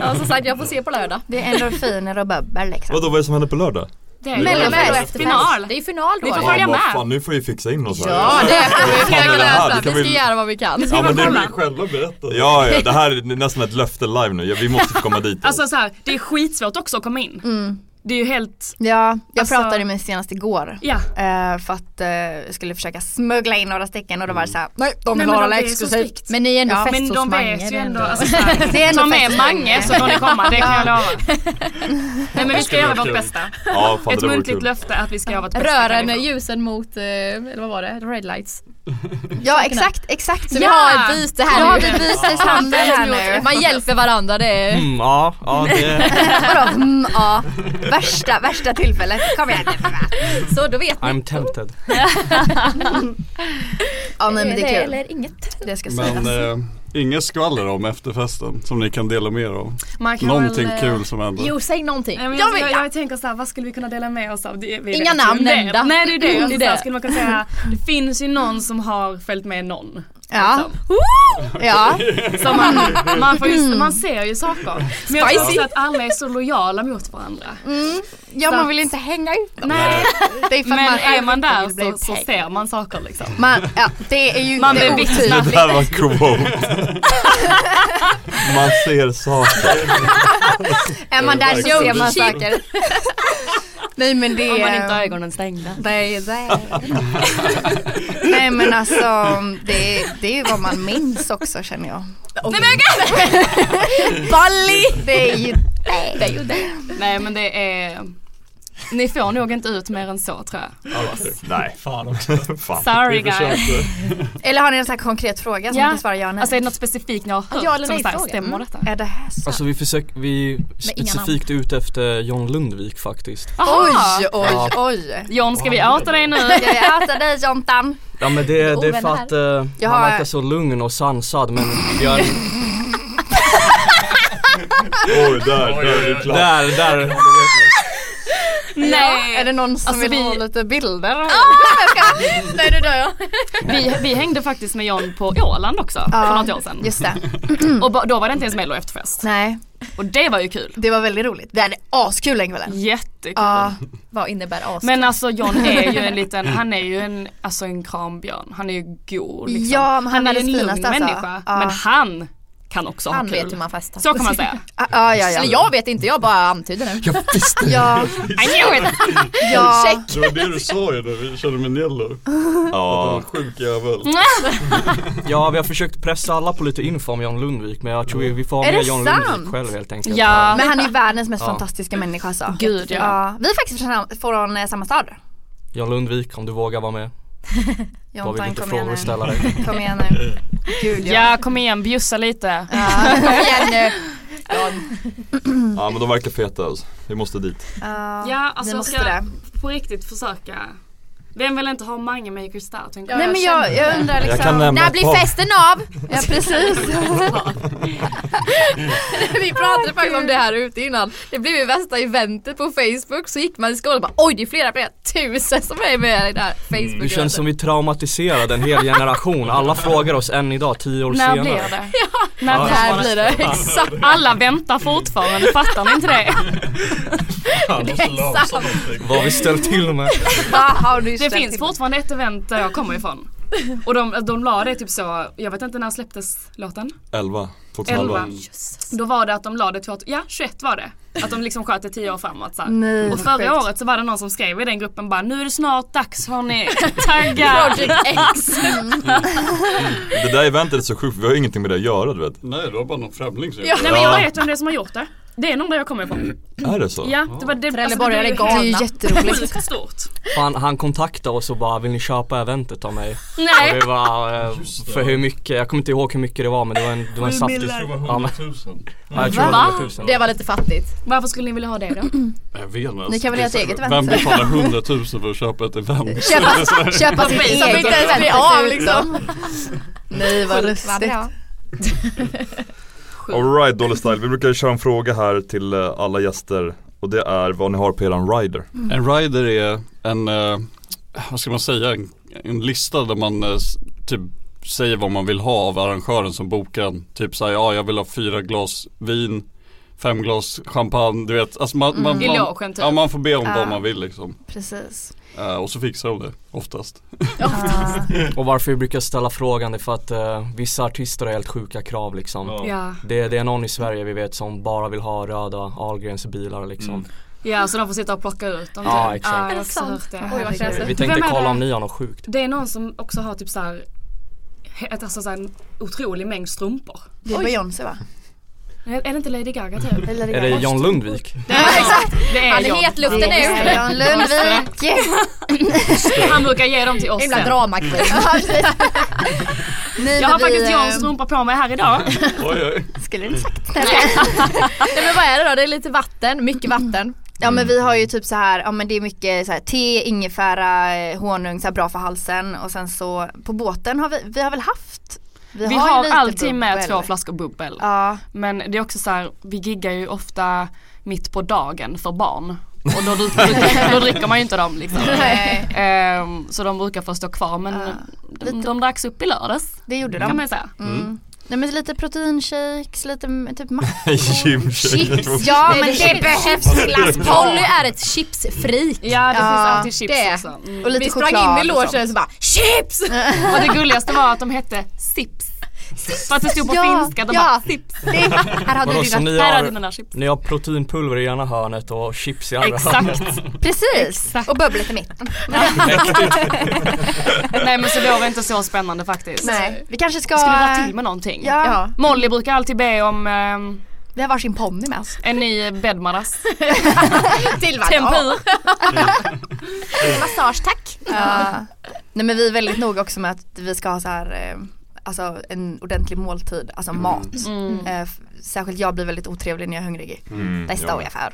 Ja som sagt jag får se på lördag.
det är endorfiner och bubbel liksom.
Vadå vad är det som händer på lördag?
Det är ju
Mello
Mello
en
Mello
efterfest.
efterfest.
final.
Det är ju final då.
Ni får
Ja.
följa
vad
med.
fan nu får vi fixa in oss här.
Ja det får vi. Vi
Fan,
ska
det här, det
göra
kan
vi ska
vi-
göra vad vi kan.
Ja men
Ni
det,
vill själva berätta.
ja, ja, det här är nästan ett löfte live nu, Ja, vi måste få komma dit.
Alltså så här, det är skitsvårt också att komma in. Det är ju helt,
Mm. Ja, jag
Alltså-
pratade med senast igår.
ja.
eh, För att eh, jag skulle försöka smuggla in några stycken och då var det såhär, nej de
Nej,
vill
men
ha
de
det
är så
exklusivt.
strikt.
Men ni är ändå
Ja,
fest
men
hos
de
Mange,
vet
det
ju
är
ändå,
ändå-
alltså,
<laughs>
så här,
<laughs> Det är ändå
ta med
fest hos
Mange så får ni komma, det
<laughs>
kan jag lova. Nej men vi ska göra vårt bästa.
ja, fan,
Ett
det vore
muntligt
kul.
löfte att vi ska göra vårt bästa.
Rören,
därifrån.
ljusen mot, eh, eller vad var det, red lights.
Ja exakt, exakt.
Så vi har ett byte
Ja,
här
vi
nu.
visar handen här nu.
Man hjälper varandra, det är...
Mm, ja, ja det
Vadå, mm, ja. Värsta, värsta tillfället. Kom igen nu.
Så då vet ni.
I'm
<laughs>
tempted
<laughs> Ja men det är kul.
Eller inget.
Det ska
Men
sägas.
eh, inget skvaller om efterfesten som ni kan dela med er av.
Man kan
Någonting
väl, eh,
kul som händer.
Jo, säg någonting.
Nej, men
Jag
jag,
vill
jag, jag tänker såhär, vad skulle vi kunna dela med oss av? Det, vi
Inga
vet ju
namn
en del.
nämnda.
Nej det är det.
Mm,
Alltså,
det.
<laughs>
Så här, skulle man kunna säga, det finns ju någon som har följt med någon.
Ja. ja.
Liksom. <laughs>
Mm.
Så man, man, får ju, man ser ju saker. Men jag tror
Spicy.
också att alla är så lojala mot varandra.
Mm. Ja,
Så
man
att-
vill inte hänga ut dem.
Nej.
Det är för att
Men
man
är man
inte
där
vill bli
så, så
upphängd.
ser man saker liksom.
Man, ja, det är ju
Man
inte
blir
otydligt.
vittnad.
Det där var quote. Man ser saker.
Är man där så
Yo,
ser man
<laughs>
shit.
saker. Nej men det
Om man inte har ögonen stängda.
Nej, nej. nej men alltså det, det är vad man minns också känner jag. Nej men
<laughs>
Bali! Det är ju det.
Det är ju det. Nej men det är, ni får nog inte ut mer än så tror jag.
Nej. <laughs> Fan Fan.
Sorry,
Vi försökte.
guys.
Eller har ni en sån här konkret fråga som
Ja.
man kan svara ja nej?
Alltså är det något specifikt ni har hört?
Ja eller
som
nej
så här,
fråga.
Stämmer
Mm.
detta?
Är det här så?
<laughs> Alltså vi försöker, vi specifikt ute efter John Lundvik faktiskt.
Aha.
Oj, oj,
Ja.
oj.
John ska vi outa dig nu?
Ska jag äta dig Jontan?
Ja men det, det är för
ovänner
att eh,
Jag
han
har-
verkar så lugn och sansad men jag,
Oj, där, där är det klart.
där, där.
Nej.
Är det någon som
Alltså,
vill
vi-
ha lite bilder? Ah!
Nej nu dör jag.
Vi, vi hängde faktiskt med John på Åland också för något år sedan.
just det.
<clears throat> Och ba- då var det inte ens Mello
<laughs>
efterfest.
Nej,
Och det var ju kul.
det var väldigt roligt. Det hade askul den kvällen.
Jättekul.
Ja,
Vad innebär as?
Men alltså John är ju en
<laughs>
liten, han är ju en, alltså en krambjörn. Han är ju god liksom.
Ja, men han är
är ju en
den
lugn
finaste, alltså.
människa.
Ja.
Men han kan också
Han
ha kul.
vet hur man festar.
Så kan
<laughs>
man säga.
ah, ah, ja, ja.
Eller jag vet inte, jag bara antyder nu.
Jag visste det.
Ja,
I
<laughs>
knew it!
ja.
Check.
Det var det du sa ju när vi körde med Nello. Att han
Ja.
var sjuk jävel.
Ja vi har försökt pressa alla på lite info om John Lundvik men jag tror vi får ha
Är
med
det
John
sant?
Lundvik själv helt enkelt.
Ja.
Men han är ju världens mest
Ja.
fantastiska människa alltså.
Gud, ja.
Vi är faktiskt från, från eh, samma stad.
John Lundvik om du vågar vara med. Då har vi
Jontan
lite
kom
frågor
igen
att
nu.
<laughs>
ställa dig.
<laughs> Kom igen nu. Gud ja.
Ja, kom igen, bjussa lite.
Ja, <laughs> Kom igen nu.
Ja men de verkar feta alltså. Vi måste dit.
<laughs> Ja,
Vi
alltså jag
måste
ska
det.
på riktigt försöka. Vem vill inte ha många makers där? Tänker
Ja,
Nej
jag.
men jag, jag undrar liksom.
Jag kan nämna
När
ett par.
blir festen av?
Ja
<laughs>
precis.
Vi pratade faktiskt om det här ute innan. Det blev ju värsta eventet på Facebook så gick man i skolan och bara oj det är flera, flera tusen som är med i det här Facebook.
Det känns som vi traumatiserade en hel generation. Alla frågar oss än idag, tio år
När
senare.
blir det?
Ja.
När
Där blir det, exakt.
Alla väntar fortfarande, fattar ni
<laughs>
inte det?
Han måste lösa någonting.
Vad har vi ställt till med.
Vad har du
Det
ställt
finns
till?
fortfarande ett event där jag kommer ifrån. Och de, de la det typ så, jag vet inte när släpptes låten?
11. 2011.
11. Då var det att de la det till att, ja 21 var det. Att de liksom sköt det 10 år framåt så här.
Nej,
Och
vad
förra
sjukt.
året så var det någon som skrev i den gruppen bara nu är det snart dags hörni, tagga!
Project X.
Mm.
Det där eventet är så sjukt, vi har ju ingenting med det att göra du vet.
Nej, det var bara någon främling som
Nej men jag vet vem det är som har gjort det. Det är någon där jag kommer ifrån.
Är det så?
Ja, det var det.
Trelleborgare är
Det är
galna.
ju
det
jätteroligt.
blev ju stort.
<laughs> Han, han kontaktade oss och bara vill ni köpa eventet av mig? Och
Nej,
vi bara, eh, för hur mycket, jag kommer inte ihåg hur mycket det var men det var en, det var en saftig
Det var
Ja,
100
men,
000.
ja, jag tror det
Va?
var 100 000.
Det var lite fattigt.
varför skulle ni vilja ha det då?
Jag vet inte.
Ni kan väl
alltså,
göra ett eget event?
Vem betalar 100 000 för att köpa ett event?
<laughs>
Köpa, köpa sitt eget
Som inte ens blir av liksom.
<laughs> Nej vad lustigt.
Alright Dolly Style, vi brukar köra en fråga här till eh, alla gäster och det är vad ni har på eran rider.
Mm. <laughs>
En rider är en, eh, vad ska man säga, en, en lista där man eh, s- typ säger vad man vill ha av arrangören som bokar en. Typ såhär, ja jag vill ha fyra glas vin, fem glas champagne, du vet. Alltså
Mm.
man, man,
I
man,
logen typ.
ja, man får be om
Ja.
vad man vill liksom.
Precis.
Eh, och så fixar de det,
<laughs>
oftast.
Ah.
<laughs> Och varför vi brukar ställa frågan är för att eh, vissa artister har helt sjuka krav liksom.
Ja.
Det, det är någon i Sverige vi vet som bara vill ha röda Ahlgrens bilar liksom.
Mm.
ja, så de får sitta och plocka ut dem.
Ja,
typ.
exakt.
jag har också hört det.
Oj, vad
Herregud.
krävs det?
eh, Vi tänkte
Vem är
kolla
det?
om ni har något sjukt.
Det är någon som också har typ så här, he- alltså så här en otrolig mängd strumpor.
Det var Beyoncé va?
Är är det inte Lady Gaga typ?
Är det John Lundvik?
Det är
Han är
jag.
het luften
Det är
nu.
Jan Lundvik.
<laughs> Han brukar ge dem till oss
Himla
sen.
drama queen.
<laughs>
Nej,
Jag
men vi,
har faktiskt Johns
eh,
strumpa på mig här idag.
Oj, oj.
Skulle du inte
<laughs>
sagt
Nej men vad är det då? Det är lite vatten, mycket vatten.
Ja men vi har ju typ så här, ja men det är mycket så här, te, ingefära, eh, honung, så här, bra för halsen och sen så på båten har vi, vi har väl haft
Vi
ju
har
lite
alltid med
bubbel.
två flaskor bubbel.
Ja,
Men det är också så här, vi giggar ju ofta mitt på dagen för barn. Och då, då, då, då dricker man ju inte dem liksom.
<laughs> nej.
Ehm, så de brukar få stå kvar men de, de dracks upp i lördags.
Det gjorde de.
Kan man ju säga.
Mm. Nej men lite proteinshakes, lite mm, typ mackor.
Gymtjejer.
Chips, ja men det behövs glass
Polly är ett chipsfreak.
Ja det finns alltid chips
det.
också. Mm.
Och lite
Vi
choklad. liksom.
sprang in i
och sånt.
logen och så bara chips!
Och det gulligaste var att de hette Sips. För att det stod på
Ja,
finska. De
ja.
bara, Sips. <laughs>
Här hade
Vadå,
du
så
dina...
ni
Här har du
har,
mina chips.
ni har proteinpulver i ena hörnet och chips i andra hörnet?
Exakt.
Precis, och bubblet i mitten.
Nej men så då var det inte så spännande
<laughs>
faktiskt.
Nej. Vi kanske ska...
Skulle dra till med någonting.
Ja.
Ja.
Molly brukar alltid be om ehm,
Vi har varsin ponny med oss.
en ny bäddmadrass.
<laughs> Till varje
Tempur.
<laughs> Massage tack.
Mm. Ja. Nej men vi är väldigt noga också med att vi ska ha så här eh, Alltså en ordentlig måltid, alltså mat.
Mm.
Eh, f- Särskilt jag blir väldigt otrevlig när jag är hungrig.
Mm,
Det står
ja.
jag för.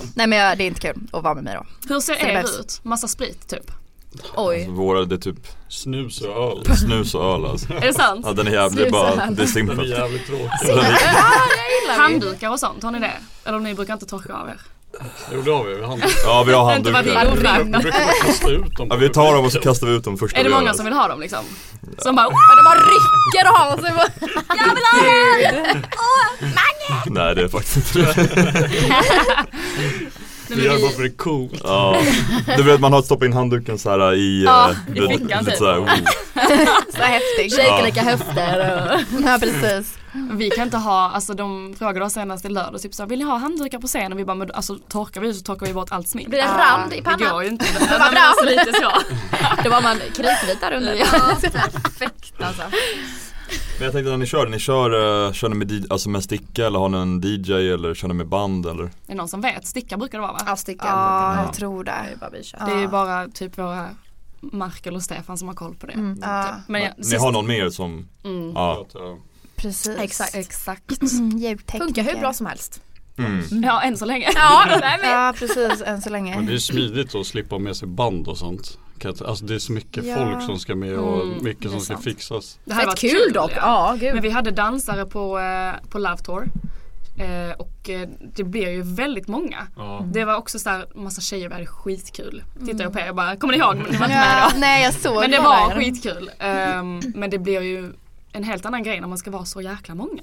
<laughs> Nej men jag, det är inte kul att vara med mig då.
Hur ser
Så det behövs.
er ut? Massa sprit typ.
Oj.
Våra det är typ
Snus och öl.
snus och öl alltså.
Är det sant?
Ja den är jävligt, det är bara det är
Den är
simpelt.
jävligt tråkig.
Den är-
Handdukar och sånt, har ni det? Eller om ni brukar inte torka av er?
Jo det har vi, vi har handdukar.
Ja vi har
Inte vad <laughs> det är
handdukar.
Vi
ofräscht.
brukar bara kasta ut dem.
Ja, vi tar dem och så kastar vi ut dem första
Är det
vi
många
gör,
som vill ha dem liksom? Som bara
De bara rycker av sig. <laughs> Jag vill ha öl!
<laughs>
alltså. Nej det är faktiskt inte det.
Vi gör det bara för det är coolt.
<laughs>
Ja. Du vet man har stoppat in handduken så här i...
Ja,
eh,
i fickan
lite
typ.
så här,
<laughs>
oh.
Så häftigt.
Shaker lika höfter och... <laughs>
Ja precis.
Vi kan inte ha, alltså de frågade oss senast i lördags typ såhär, vill ni ha handdukar på scenen? Och vi bara, men alltså torkar vi så torkar vi bort allt smink.
Blir det en rand i
Det
pannan?
går ju
<laughs>
inte. Det var alltså lite så.
Då var man kritvit där under.
Perfekt alltså.
Men jag tänkte när ni kör, ni kör, eh, kör ni med, di- alltså med sticka eller har ni en DJ eller kör ni med band eller?
Är det någon som vet? Sticka brukar det vara va?
Avstickaren.
Ja jag tror det.
bara vi kör.
Det är ju bara typ våra Markel och Stefan som har koll på det.
Mm. Ja
Mm. Typ. Men jag,
Ni har någon med er som,
Mm.
ja.
precis.
Exakt.
Exakt.
<clears throat> Mm, Ljudtekniker.
Funkar hur bra som helst.
Mm.
Ja, än så länge.
Ja, nej men.
Ja precis, än så länge.
Men det är smidigt att slippa ha med sig band och sånt. Kan jag ta- Alltså det är så mycket
Ja.
folk som ska med och
Mm,
mycket som
är
ska
sant.
fixas.
Det hade
Fett
varit
kul, dock.
ja.
Ja, gud.
Men vi hade dansare på, eh, på Love Tour. Eh, och eh, det blev ju väldigt många. Det var också så här, massa tjejer, vi hade skitkul. Tittar jag på er och bara, kommer ni ihåg? Men ni var inte med
Mm. Ja,
då.
nej jag såg
Men det
bara
var
er.
skitkul. Ehm, men det blir ju en helt annan grej när man ska vara så jäkla många.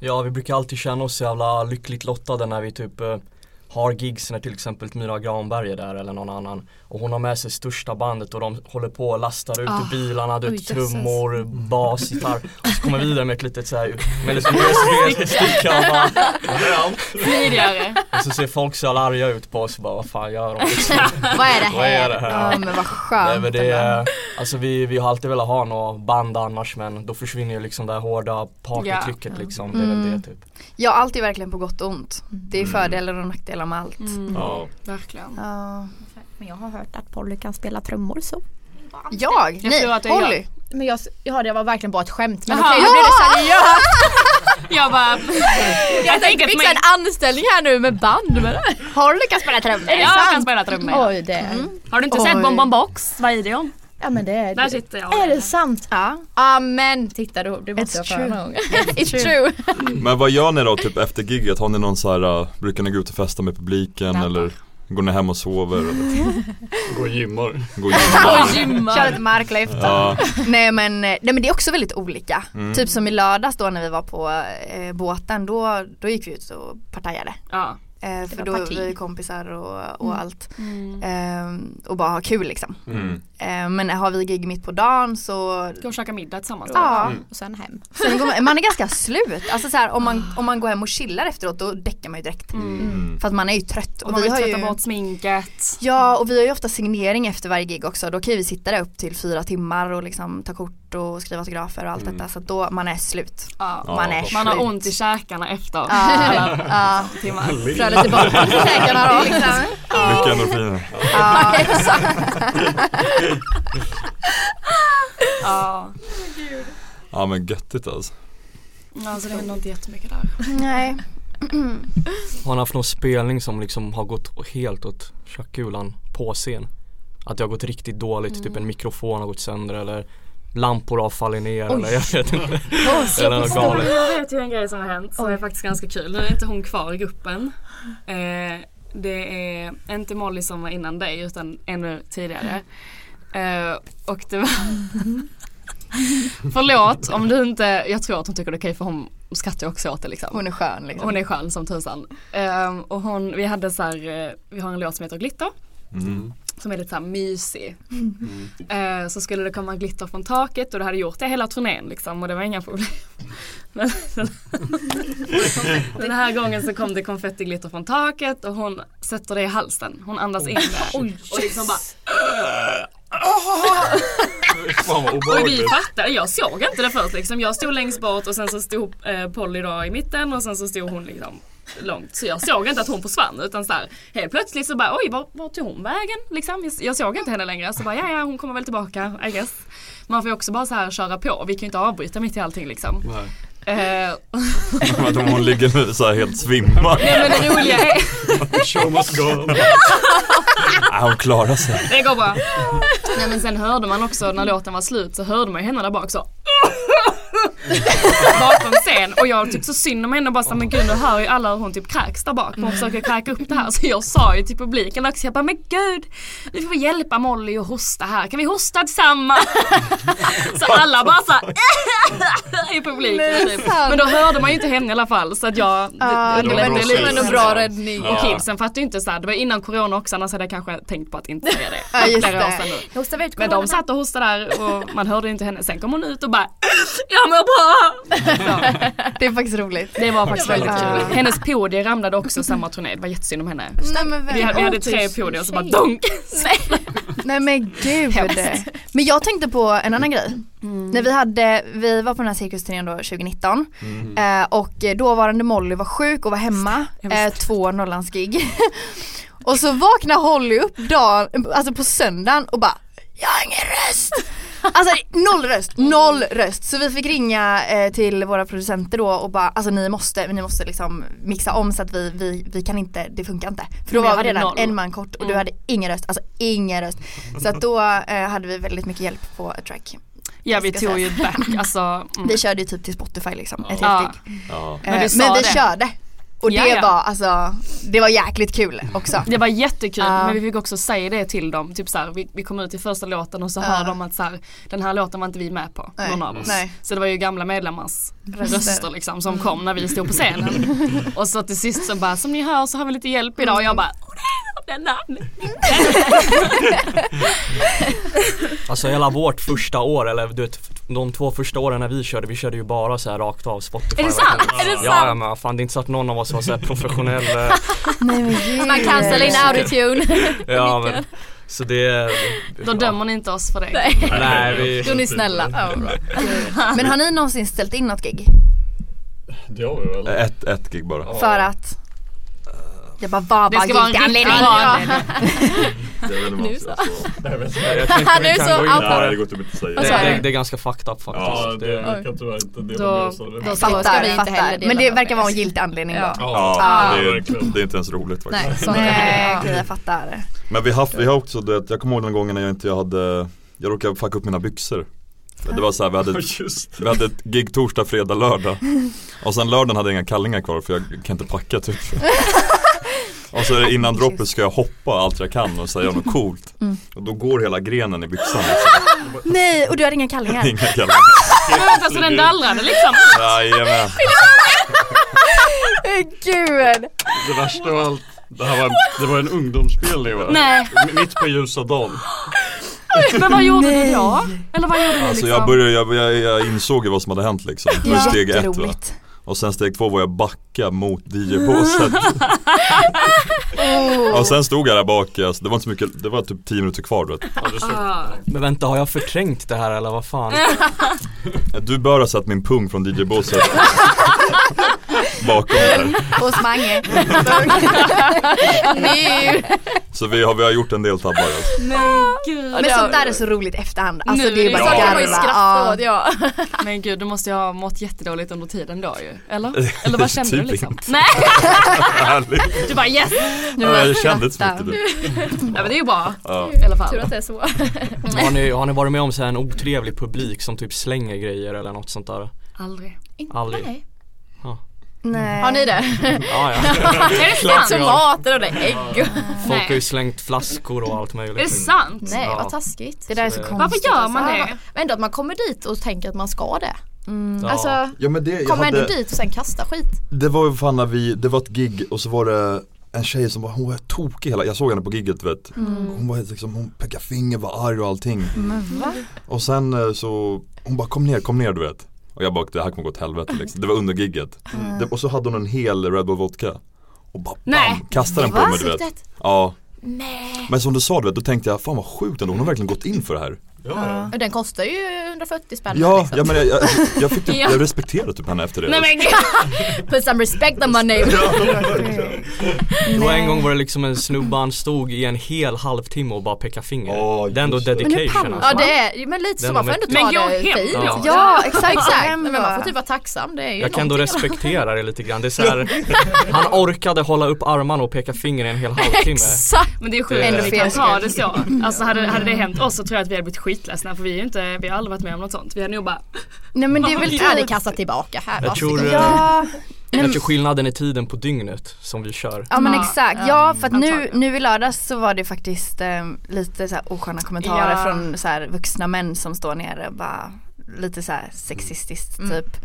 Ja, vi brukar alltid känna oss så jävla lyckligt lottade när vi typ eh, har gigs när till exempel Myra Granberg är där eller någon annan och hon har med sig största bandet och de håller på och lastar ut
Ah.
i bilarna, du
Oj,
vet,
jösses.
trummor, bas, gitarr och så kommer vi där med ett litet såhär med liksom USB-sticka och bara "Ja."
Smidigare.
Och så ser folk så jävla arga ut på oss och bara vad fan gör de liksom?
<laughs> Vad är det här?
Vad är det här?
Ja men vad
Nej,
skönt.
men det, är- alltså vi, vi har alltid velat ha något band annars men då försvinner ju liksom det här hårda partytrycket
Ja.
liksom. Det är väl
Mm.
det typ.
Ja allt är verkligen på gott och ont. Det är
Mm.
fördelar och nackdelar med allt.
Ja.
Mm. Verkligen.
Ja.
Men jag har hört att Polly kan spela trummor så.
Jag? Jag Nej, tror att det är Polly.
Men jag, ja, det var verkligen bara ett skämt. Men
Jaha.
okej, nu blir det
<laughs>
seriöst.
Jag
<laughs>
bara...
Jag tänkte
tänker att
fixa
man-
en anställning här nu med band. Men...
Polly kan spela trummor.
Är det
Jag
sant?
kan spela trummor. ja. Mm.
Oj, det.
Har du inte sett
Oj.
Bonbon Box? Vad är det om?
Ja men det är
Där sitter jag.
Är det sant? Ja. Amen. Titta då, det måste jag få höra någon
<laughs>
gång. It's true.
Men vad gör ni då typ efter gigget? Har ni någon så här, uh, brukar ni gå ut och festa med publiken eller går ni hem och
<laughs>
sover? Eller?
Gå och gymmar.
Gå och gymmar.
Kör ett marklyft.
Ja.
Nej, men, eh, nej men det är också väldigt olika.
Mm.
Typ som i lördags då när vi var på eh, båten då, då gick vi ut och partajade.
Ja.
Eh,
var
för då
parti.
var vi kompisar och, och
Mm.
allt. Eh, och bara ha kul liksom.
Mm.
Eh, men har vi gig mitt på dagen så
Gå och käka middag tillsammans.
Ja.
Och sen hem.
Sen går man, man är ganska slut. Alltså så här, om, man, om man går hem och chillar efteråt då däckar man ju direkt.
Mm.
För att man är ju trött.
Och man vill
har
tvätta bort sminket.
Ja och vi har ju ofta signering efter varje gig också. Då kan ju vi sitta där upp till fyra timmar och liksom ta kort och skriva autografer och allt
Mm.
detta. Så att då man är slut.
Ja.
Man är
Man har
slut.
ont i käkarna efter.
Ja.
<laughs> Alla
Ja.
timmar.
Frölet är borta från käkarna då. Liksom.
Mycket endorfiner.
Ja, exakt.
Ja.
Ja men göttigt alltså.
Alltså det händer inte jättemycket där. <clears throat>
Nej.
Har han haft någon spelning som liksom har gått helt åt köttkulan på scen? Att det har gått riktigt dåligt, typ
Mm.
en mikrofon har gått sönder eller lampor har fallit ner
Oj.
eller jag vet inte.
<laughs> Åh, så
eller något
Ja, men
galet.
Jag vet ju en grej som har hänt som är faktiskt ganska kul. Nu är inte hon kvar i gruppen. Eh, det är inte Molly som var innan dig utan ännu tidigare. Eh, och det
<laughs>
var... Förlåt om du inte, jag tror att hon tycker det är okej för hon skrattar ju också åt det liksom.
Hon är skön liksom.
Hon är skön som tusan. Eh, och hon, vi hade så här, eh, vi har en låt som heter Glitter.
Mm.
Som är lite så här mysig. Eh, så skulle det komma glitter från taket och det hade gjort det hela turnén liksom och det var inga problem. <laughs> Men den här gången så kom det konfettiglitter från taket och hon sätter det i halsen. Hon andas in det. och liksom bara
Fan vad
och vi
obehagligt.
fattade, jag såg inte det först liksom. Jag stod längst bort och sen så stod eh, Polly då i mitten och sen så stod hon liksom långt. Så jag såg inte att hon försvann utan så här helt plötsligt så bara oj var, var tog hon vägen liksom. Jag såg inte henne längre så bara ja ja hon kommer väl tillbaka I guess. Man får ju också bara så här köra på. Vi kan ju inte avbryta mitt i allting liksom.
Nej.
Eh, <laughs>
Att hon ligger nu så här helt svimmad.
nej men det roliga är
Show must go on.
Ja, hon klarar sig.
Det går bra. Nej men sen hörde man också när låten var slut så hörde man ju henne där bak så. Bakom scen och jag typ så synd om henne och bara så, här, men gud nu hör ju alla hur hon typ kräks där bak. Hon försöker kräka upp det här så jag sa ju till publiken också jag bara men gud vi får hjälpa Molly att hosta här kan vi hosta tillsammans? Så alla bara så här, i
Nej,
<laughs> publiken typ.
sant.
Men då hörde man ju inte henne i alla fall så att jag
Ja, det var ändå- det var ändå bra räddning.
Och
Ja.
kidsen fattade ju inte så här, det var innan corona också annars hade jag kanske tänkt på att inte säga det.
Ja, just
Flera år
det.
sedan nu.
Jag hostar ut
Men de satt och hostade där och man hörde inte henne. Sen kom hon ut och bara Jag mår bra! <laughs>
Det är faktiskt roligt.
Det var faktiskt väldigt
Ja.
kul. Hennes podier ramlade också samma turné. Det var jättesynd om henne.
Nej men
Vi hade, vi hade tre podier och så bara dunk!
Nej men gud.
Hemskt. Mm.
Men jag tänkte på en annan grej. När vi, hade, vi var på den här cirkusturnén då 2019 eh, och eh, dåvarande Molly var sjuk och var hemma eh, två Norrlandsgig. och så vaknar Holly upp dagen, alltså på söndagen och bara Jag har ingen röst! Alltså noll röst, noll röst. Så vi fick ringa eh, till våra producenter då och bara alltså ni måste, ni måste liksom mixa om så att vi, vi, vi kan inte, det funkar inte. För då
Vi
var vi
hade
redan
noll. Mm.
en man kort och du hade ingen röst, alltså ingen röst. Så att då eh, hade vi väldigt mycket hjälp på A Track.
Ja vi
Jag ska
tog ju
säga.
back, alltså. mm.
Vi körde ju typ till Spotify liksom, ett
Ja.
helt gig.
Ja.
Eh,
Men vi sa
Men vi
det.
körde. Och det
Ja, ja.
var alltså, det var jäkligt kul också.
Det var jättekul
Ja.
men vi fick också säga det till dem. Typ så här, vi, vi kom ut i första låten och så
Ja.
hör de att så här, den här låten var inte vi med på,
Nej.
någon av oss.
Nej.
Så det var ju gamla medlemmars
Röster. Mm.
röster, liksom, som kom när vi stod på <laughs> scenen. och så till sist så bara, som ni hör så har vi lite hjälp idag och jag bara, "Åh, nej, den där,
Alltså hela vårt första år, eller du vet de två första åren när vi körde, vi körde ju bara så här rakt av Spotify.
Är det sant?
Ja,
Är det
Ja,
sant?
men fan det är inte så att någon av oss var så här professionell.
<laughs>
eh,
Man kan ställa in autotune.
ja, men, så det,
Då dömer ni inte oss för det.
Nej.
nej vi...
Då är ni snälla. Ja, bra.
Men har ni någonsin ställt in något gig?
Det har vi väl.
Ett, ett gig bara.
För att? Jag bara, vad
Det
var
ska vara en riktig
giganledning?
anledning. <laughs>
Nu
alltså.
så.
Nej, men-
Jag tänkte
Han
vi
är
kan
så
gå in på
out.
det.
Nej det går typ inte att säga.
Vad
Alltså,
Det,
sa
det,
du?
det är ganska fucked up faktiskt.
Ja, det
det,
vi kan tyvärr inte dela med
Då,
oss av
då
det.
ska vi
Fattar.
ta
Fattar,
vi inte heller
fattar.
dela
Men det
med
verkar
oss.
vara en giltig anledning då.
Ja,
Ja.
det, är, det är inte ens roligt faktiskt.
Nej, sånt
Nej, okej,
Nej.
jag fattar.
Men vi har, vi har också, du vet, jag kommer ihåg den gången när jag inte jag hade, jag råkade fucka upp mina byxor. Det var så här, vi hade, vi hade ett gig torsdag, fredag, lördag. Och sen lördagen hade jag inga kallingar kvar för jag kan inte packa typ. Och så är det innan droppet ska jag hoppa allt jag kan och säga något coolt. Och då går hela grenen i byxan liksom.
Nej, och du hade inga kallingar?
<laughs>
Inga kallingar.
Men vänta, så den dallrade liksom?
Jajamän.
Eh, Gud.
Det värsta av allt, det här var en, det var en ungdomsspelning va?
Nej,
M- Mitt på ljusa dagen.
men vad gjorde ni då? Eller vad gjorde ni
Alltså
liksom?
jag började, jag, jag, jag insåg ju vad som hade hänt liksom. Det var steg ett va.
Jätteroligt.
Och sen steg två var jag backa mot <laughs> DJ-påsen.
Alltså-
Och sen stod jag där bak, alltså, det var inte så mycket, det var typ 10 minuter kvar du vet.
Ja, det stod-
Men vänta, har jag förträngt det här eller vad fan?
Du bör ha sett min pung från
<laughs>
DJ-båset. Bakom där.
Hos Mange.
Nu.
Så vi har, vi har gjort en del tabbar alltså.
Men sånt där är så roligt efterhand. Alltså
Nu
det är ju
är det
bara
klart
Kan man ju
garva.
skratta
Ja.
åt ja.
Men gud, du måste ju ha mått jättedåligt under tiden då ju.
<laughs>
Eller? Eller vad kände du
Typ
liksom?
inte.
Nej, <laughs>
Härligt.
du bara yes!
Ja, jag kände inte så mycket du.
Ja men det är ju bra
Ja.
i
Tur
alla fall.
att det är så.
Har ni, har ni varit med om så här en otrevlig publik som typ slänger grejer eller något sånt där?
Aldrig.
Aldrig.
Nej.
Nej.
Har ni
<laughs>
det?
Ja, ja.
<laughs> Är det sant?
Tomater och det, ägg och...
Folk har ju
Nej.
slängt flaskor och allt möjligt.
Är det sant?
Nej
Ja.
vad taskigt.
Det där är så
Så det-
konstigt.
Varför gör man
Ja,
det?
Men ändå att man kommer dit och tänker att man ska det.
Ja.
Alltså,
Ja, men det,
kommer ändå dit och sen kasta skit.
Det var ju fan när vi, det var ett gig och så var det en tjej som var, hon var tokig hela, jag såg henne på giget du vet
Mm.
Hon var helt liksom, hon pekade finger, var arg och allting Och sen eh, så, hon bara kom ner, kom ner du vet Och jag bara, det här kommer gå åt helvete liksom. det var under giget
Mm.
det, Och så hade hon en hel Red Bull Vodka Och bara
Nej.
bam, kastade den på mig du vet
Ansiktet.
Ja Men som du sa du vet, då tänkte jag fan vad sjukt ändå, hon har verkligen gått in för det här
Ja,
Och Den kostar ju 140 spänn.
Ja,
liksom.
ja men jag, jag, jag fick typ, jag respekterade typ henne efter det
Nej men
<laughs>
gud.
Put some respect on my name.
Det var en gång var det liksom en snubbe, han stod i en hel halvtimme och bara pekade finger.
Ja,
det är ändå
just
<laughs>
det.
dedication alltså.
Ja det är, men lite så
Den
man får
är-
ändå
Men
ta
gå
det
hem
fint.
då.
Ja,
Ja, exakt.
exakt,
Hem
men man
alltså,
får
då.
typ vara tacksam. Det är ju
Jag kan då
någonting.
respektera det lite grann. Det är så
<laughs>
här, han orkade hålla upp armarna och peka finger i en hel halvtimme.
Exakt.
Men det är sjukt
Ändå
att vi kan
fel Mm.
ta det så. Alltså hade, hade det hänt oss så tror jag att vi hade blivit skitledsna för vi, är ju inte, vi har aldrig varit med om något sånt. Vi hade nog bara
Nej men det är
Jag
väl
vill aldrig
typ.
kasta tillbaka här.
Jag tror,
varsågod.
Ja,
Mm.
jag tror skillnaden i tiden på dygnet som vi kör.
ja men
Ja.
exakt. Ja för att nu,
Antagligen.
nu i lördags så var det faktiskt eh, lite så här osköna kommentarer
Ja.
från så här vuxna män som står nere och bara lite så här sexistiskt typ.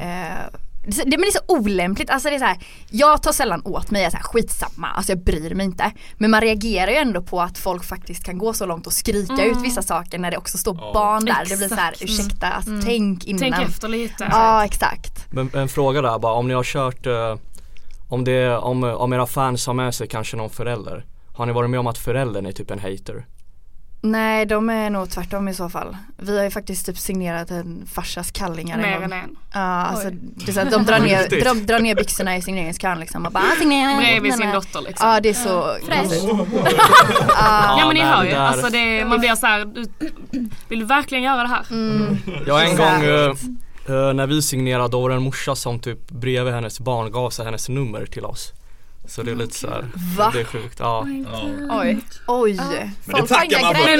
Eh, det, men det är så olämpligt, alltså det är så här, jag tar sällan åt mig, jag är så här, skitsamma, alltså jag bryr mig inte. Men man reagerar ju ändå på att folk faktiskt kan gå så långt och skrika ut vissa saker när det också står barn där. Det blir så här,
Mm.
ursäkta, alltså, tänk innan.
Mm. tänk efter lite.
Ja exakt.
Men en fråga där bara, om ni har kört, eh, om, det, om, om era fans har med sig kanske någon förälder. Har ni varit med om att föräldern är typ en hater?
Nej de är nog tvärtom i så fall. Vi har ju faktiskt typ signerat en farsas kallingar
Mer
en
än
gång.
en.
Ja alltså det är så att <laughs> de drar ner, de drar ner byxorna i signeringskön liksom och bara "Ah, signera.
Bredvid
Nej,
sin
nej.
dotter liksom.
Ja det är så konstigt. Ah.
Ja men ni
nej,
hör
det
ju,
där-
alltså det, man blir såhär, du- vill du verkligen göra det här?
Mm. <laughs>
Jag en
Exakt.
gång eh, eh, när vi signerade då var det en morsa som typ bredvid hennes barn gav sig hennes nummer till oss.
Så det är lite så här,
Va? Oh
det är sjukt. Ja.
Oj. <laughs> Oj.
Men det tackar man för.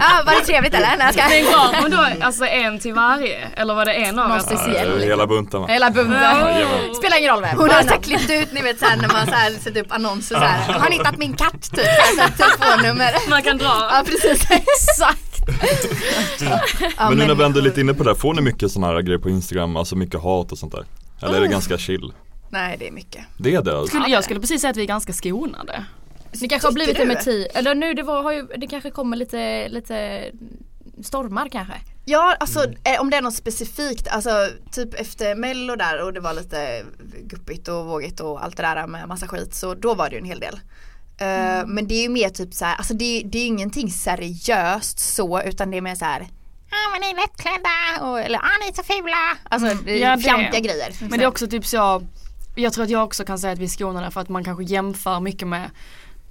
ah, var det trevligt eller? Nej, jag ska...
Men gav hon då alltså en till varje? Eller var det en av er?
Ja, Alltså, hela bunten va?
Hela bunten.
Jajamän.
Spelar ingen roll vem.
Hon har
Annan.
så här klippt ut ni vet såhär när man såhär sätter upp annonser såhär. Har ni hittat min katt typ? Såhär, så här, telefonnummer.
Man kan dra.
Ja precis. <laughs> Exakt.
<laughs>
Ja,
Men nu när vi ändå är lite inne på det här, får ni mycket sådana här grejer på Instagram, alltså mycket hat och sånt där? Eller är det ganska chill?
Nej det är mycket.
Det är det alltså?
Skulle, jag skulle precis säga att vi är ganska skonade.
Det kanske har blivit det
Tycker du?
med tio, eller nu det, var, har ju, det kanske kommer lite, lite stormar kanske.
Ja alltså eh, om det är något specifikt, alltså typ efter mello där och det var lite guppigt och vågigt och allt det där med massa skit så då var det ju en hel del. Eh, Men det är ju mer typ såhär, alltså det, är- det är ju ingenting seriöst så utan det är mer såhär Ja men ni är lättklädda och, eller ah, ni är så fula. Alltså det är
Ja, det-
fjantiga grejer.
Men det är också typ så jag, jag tror att jag också kan säga att vi är skonade för att man kanske jämför mycket med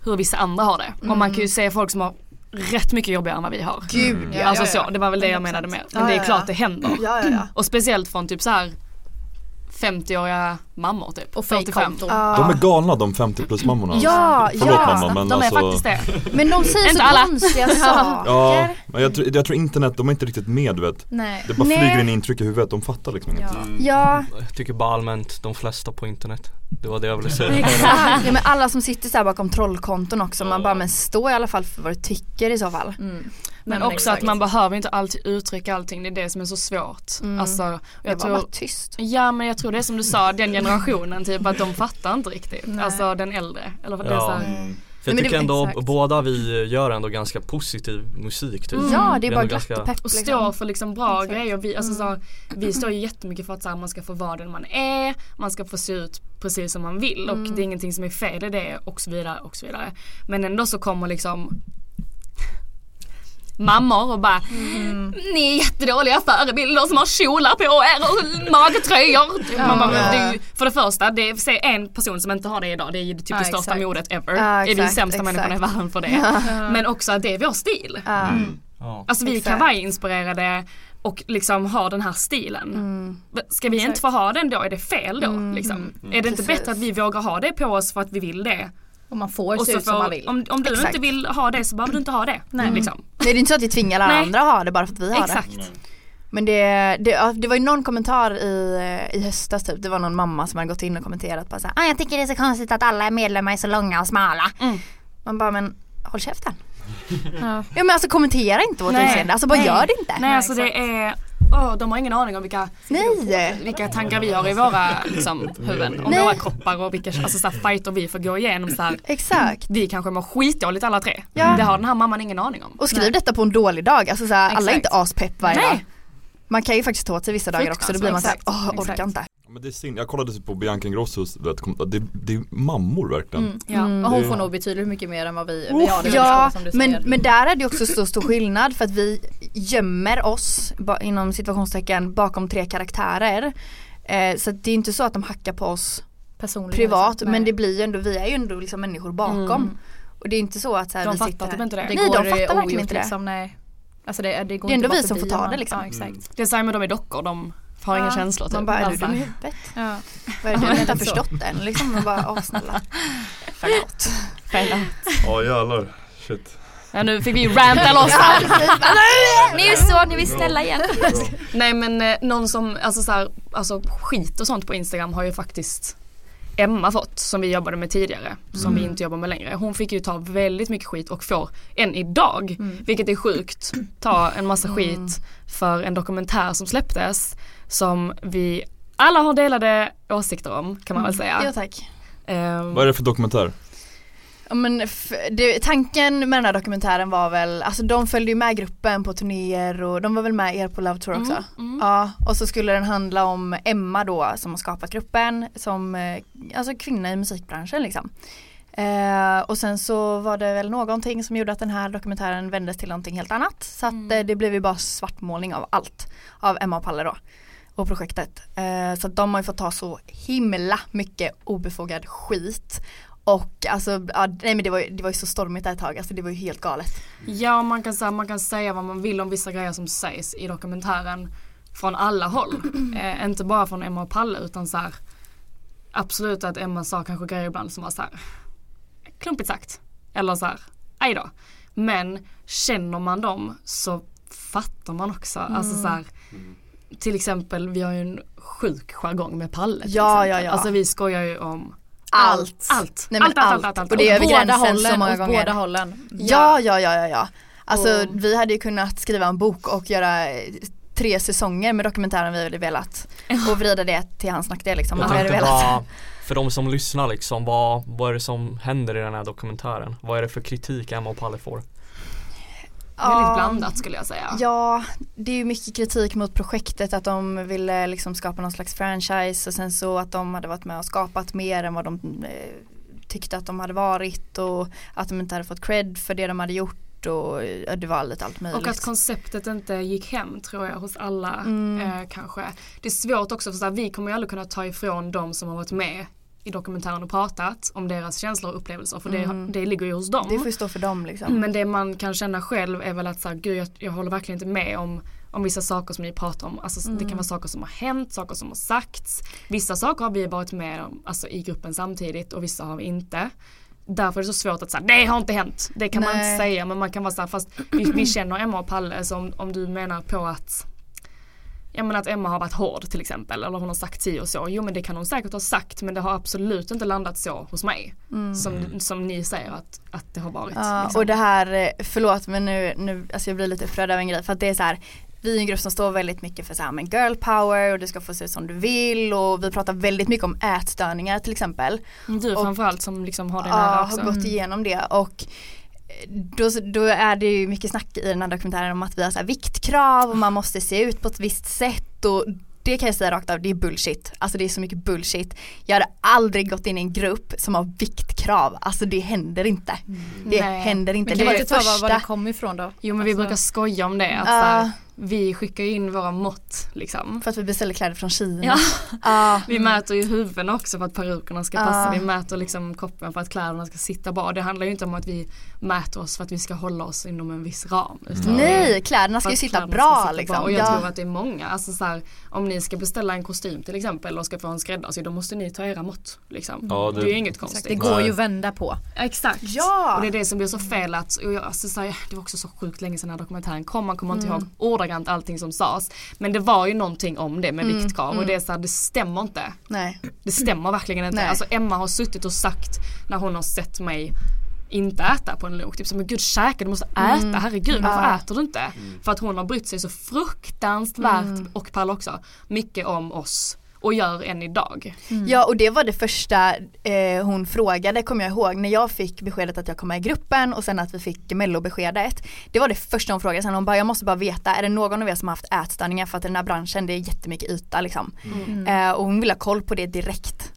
hur vissa andra har det. Och man kan ju se folk som har rätt mycket jobbigare än vad vi har.
Mm. Gud ja.
alltså så, det var väl det jag menade med. Men
Ja,
det
ja,
är
ja.
klart det händer.
Ja, ja, ja.
Och speciellt från typ så här 50-åriga mammor typ.
Och
45.
fejkkonton.
De är galna de 50 plus mammorna alltså.
Ja,
Förlåt
ja.
mamma men
De är
alltså
faktiskt det.
Men de säger
Inte
så
alla. <laughs>
konstiga saker.
Ja, men jag, tror- jag tror internet, de är inte riktigt med du vet
Nej.
Det bara
Nej.
flyger in intryck i huvudet, de fattar liksom inget
Ja,
Jag tycker bara allmänt de flesta på internet. Det var det jag ville säga.
exakt. Ja, men alla som sitter så här bakom trollkonton också, man bara men stå i alla fall för vad du tycker i så fall.
Mm. Men,
men
också
exakt.
att man behöver inte alltid uttrycka allting, det är det som är så svårt. Alltså, jag
Jag Mm. var
tror,
bara tyst.
Ja men jag tror det är som du sa, den generationen typ att de fattar inte riktigt. Alltså den äldre. Eller vad det är
Ja. Mm. För
så här,
jag
Mm. men det-
tycker ändå
exakt.
båda vi gör ändå ganska positiv musik typ.
Mm. Ja, det är
ändå
bara glatt och pepp
Mm. Och
liksom. Mm.
står för liksom bra grejer. Vi, alltså, så, här, vi står ju jättemycket för att så här, man ska få vara den man är, man ska få se ut precis som man vill
Mm.
och det är ingenting som är fel i det och så vidare och så vidare. Men ändå så kommer liksom Mm. mammor och bara
Mm.
Ni är jättedåliga förebilder som har kjolar på er och magtröjor. Man bara, men det är ju, för det första, det är, se en person som inte har det idag det är ju typ det största
exakt.
modet ever.
Ja,
är det ju
exakt,
sämsta människan i
exakt.
världen för det. Men också att det är vår stil.
Ja. Mm.
Alltså vi är
Exakt.
kavajinspirerade och liksom har den här stilen.
Mm.
Ska vi inte få ha den då? Är det fel då? Liksom? Är det inte
Precis.
bättre att vi vågar ha det på oss för att vi vill det?
Och man får
Och
se
så
ut som
får-
man vill.
Om, om du
Exakt.
inte vill ha det så behöver du inte ha det. Liksom.
Nej, Mm. det är inte så att vi tvingar alla
Nej.
andra att ha det bara för att vi har det.
Exakt.
Men det, det, ja, det var ju någon kommentar i, eh, i höstas typ, det var någon mamma som hade gått in och kommenterat bara såhär, ah, jag tycker det är så konstigt att alla medlemmar är så långa och smala. Man bara, men håll käften. Mm. <laughs> ja. men alltså kommentera inte vårt
Nej.
utseende, alltså bara
Nej.
gör det inte.
Nej alltså det är, åh, de har ingen aning om vilka,
Nej.
vilka tankar vi har i våra liksom, huvuden. Om
Nej.
våra kroppar och vilka alltså, så här, fighter vi får gå igenom. Så här,
Exakt.
vi kanske mår skitdåligt alla tre.
Ja.
Det har den här mamman ingen aning om.
Och skriv detta på en dålig dag, alltså såhär, alla är inte aspepp varje dag.
Nej.
Man kan ju faktiskt ta åt sig vissa dagar också, då blir man såhär,
Fruktansvärt.
åh
Exakt.
orkar inte.
Men det är synd, jag kollade typ på Bianca Ingrossos, du vet, kom- det, det är mammor verkligen
Mm,
Mm,
Ja.
Mm,
Mm.
Och hon får nog betydligt mycket mer än vad vi, vi
Ja,
har. Det är
ja
väl som du
men,
säger.
men där är det också så stor skillnad för att vi gömmer oss ba, inom situationstecken bakom tre karaktärer. Eh, så att det är inte så att de hackar på oss
Personligen
privat
liksom. Nej.
men det blir ju ändå, vi är ju ändå liksom människor bakom. Och det är inte så att så här,
De
vi
fattar
sitter
typ
här.
inte det.
Det
Nej,
går
de fattar
eh,
verkligen
ogjort
inte det.
Liksom, nej. Alltså det, det går
Det
inte
är ändå
bara
vi som
förbi
får ta
om man-
det, liksom.
Ja, exakt.
Det är samma med de är dockor, de Mm. har inga känslor typ.
Man bara, är du
Alltså.
dum i huvudet?
Ja.
Vad är det du
<laughs>
inte har förstått än? Liksom, man bara, åh snälla. Förlåt.
Ja jävlar, shit
Ja, nu fick vi ranta loss här.
Ni är så, ni vill snälla igen.
Nej men eh, någon som, alltså, så här, alltså skit och sånt på Instagram har ju faktiskt Emma fått som vi jobbade med tidigare som
Mm.
vi inte jobbar med längre. Hon fick ju ta väldigt mycket skit och får än idag
Mm.
vilket är sjukt ta en massa skit för en dokumentär som släpptes som vi alla har delade åsikter om kan
Mm.
man väl
Jo
säga.
tack.
Ehm,
Vad är det för dokumentär?
Ja, men f- det, tanken med den här dokumentären var väl, alltså de följde ju med gruppen på turnéer och de var väl med er på Love Tour också. Ja, och så skulle den handla om Emma då som har skapat gruppen som eh, alltså kvinna i musikbranschen liksom. Eh, och sen så var det väl någonting som gjorde att den här dokumentären vändes till någonting helt annat. Så att eh, det blev ju bara svartmålning av allt. Av Emma och Palle då. Och projektet. Eh, så att de har ju fått ta så himla mycket obefogad skit. Och alltså, ja, nej men det var, ju- det var ju så stormigt där ett tag. Alltså det var ju helt galet.
Ja man kan, säga, man kan säga vad man vill om vissa grejer som sägs
<clears throat>
i dokumentären från alla håll. Eh, inte bara från Emma och Palle utan så här absolut att Emma sa kanske grejer ibland som var så här klumpigt sagt. Eller så här, aj då. Men känner man dem så fattar man också.
Mm.
Alltså så här, till exempel, vi har ju en sjuk jargong med Palle. till
Ja,
exempel.
ja, ja.
Alltså vi skojar ju om
Allt.
Allt.
Nej, men
allt, allt,
allt.
allt, allt, allt.
Och det är över
Båda
gränsen så
hållen,
många
åt
gånger.
båda
hållen.
Ja, ja, ja, ja, ja. Alltså
Och-
vi hade ju kunnat skriva en bok och göra eh, tre säsonger med dokumentären vi hade velat och vrida det till hans nackdel liksom. om
Jag
vi hade
tänkte
velat. <laughs>
bara, för de som lyssnar liksom, vad, vad är det som händer i den här dokumentären? Vad är det för kritik Emma och Palle får?
Väldigt
Ja.
blandat skulle jag säga.
Ja, det är ju mycket kritik mot projektet att de ville liksom skapa någon slags franchise och sen så att de hade varit med och skapat mer än vad de eh, tyckte att de hade varit och att de inte hade fått cred för det de hade gjort och ja, det var lite allt möjligt.
Och att konceptet inte gick hem tror jag hos alla
Mm.
eh, kanske. Det är svårt också för så här, vi kommer ju aldrig kunna ta ifrån de som har varit med i dokumentären och pratat om deras känslor och upplevelser för
Mm.
det, det ligger ju hos dem. Mm.
det får ju stå för dem liksom.
Men det man kan känna själv är väl att så här, gud jag, jag håller verkligen inte med om, om vissa saker som ni pratar om. Alltså, Det
Mm.
kan vara saker som har hänt, saker som har sagts. Vissa saker har vi varit med om alltså, i gruppen samtidigt och vissa har vi inte. Därför är det så svårt att säga det har inte hänt. Det kan man
Nej.
inte säga men man kan vara såhär fast vi,
<clears throat>
vi känner Emma och Palle så om, om du menar på att Ja men att Emma har varit hård till exempel eller hon har sagt si och så. Jo men det kan hon säkert ha sagt men det har absolut inte landat så hos mig. Som, som ni säger att, att det har varit.
Mm. Ja,
liksom.
och det här, eh, förlåt men nu, nu alltså jag blir lite upprörd av en grej för att det är så här vi är en grupp som står väldigt mycket för så här, men girl power och du ska få se ut som du vill och vi pratar väldigt mycket om ätstörningar till exempel.
Mm, Du
Och-
framförallt som liksom har det nära
Ja,
också.
har
Mm.
gått igenom det och eh, då, då är det ju mycket snack i den här dokumentären om att vi har så här viktkrav och man måste se ut på ett visst sätt och det kan jag säga rakt av, det är bullshit. Alltså det är så mycket bullshit. Jag hade aldrig gått in i en grupp som har viktkrav. Alltså det händer inte. Det
Mm. Nej.
händer inte.
Men
Det
kan
var
vi
det
inte ta
första.
vad-
Var, var det kom ifrån då? Alltså-
Jo men vi brukar skoja om det. Att så
Ja.
här, vi skickar ju in våra mått liksom.
För att vi beställer kläder från Kina.
Ja.
<laughs> Ja.
Vi mäter ju huvuden också för att perukerna ska passa.
Ja.
Vi mäter liksom kroppen för att kläderna ska sitta bra. Det handlar ju inte om att vi mäter oss för att vi ska hålla oss inom en viss ram. Utan
Nej, kläderna ska ju
Fast
sitta
kläderna
bra
ska sitta
liksom.
bra. Och jag
Ja.
tror att det är många, alltså så här, om ni ska beställa en kostym till exempel och ska få en skräddarsydd då måste ni ta era mått. Liksom.
Ja,
det,
det-
är ju inget
Exakt,
konstigt.
det går ju att vända på.
Exakt.
Ja.
Och det är det som blir så fel att, och jag, alltså, så här, det var också så sjukt länge sedan den här dokumentären kom, man kommer inte
Mm.
ihåg ordagrant allting som sades. Men det var ju någonting om det med viktkrav och det är så här, det stämmer inte.
Nej.
Det stämmer verkligen inte.
Nej.
Alltså Emma har suttit och sagt när hon har sett mig inte äta på en lok. Typ som men gud käka, du måste
Mm.
äta, herregud varför äter du inte? För att hon har brytt sig så fruktansvärt och Palle också mycket om oss och gör än idag.
Mm.
Ja och det var det första eh, hon frågade kommer jag ihåg när jag fick beskedet att jag kom med i gruppen och sen att vi fick mellobeskedet. Det var det första hon frågade sen hon bara jag måste bara veta är det någon av er som har haft ätstörningar för att i den här branschen det är jättemycket yta liksom.
Mm.
Eh, och hon vill ha koll på det direkt.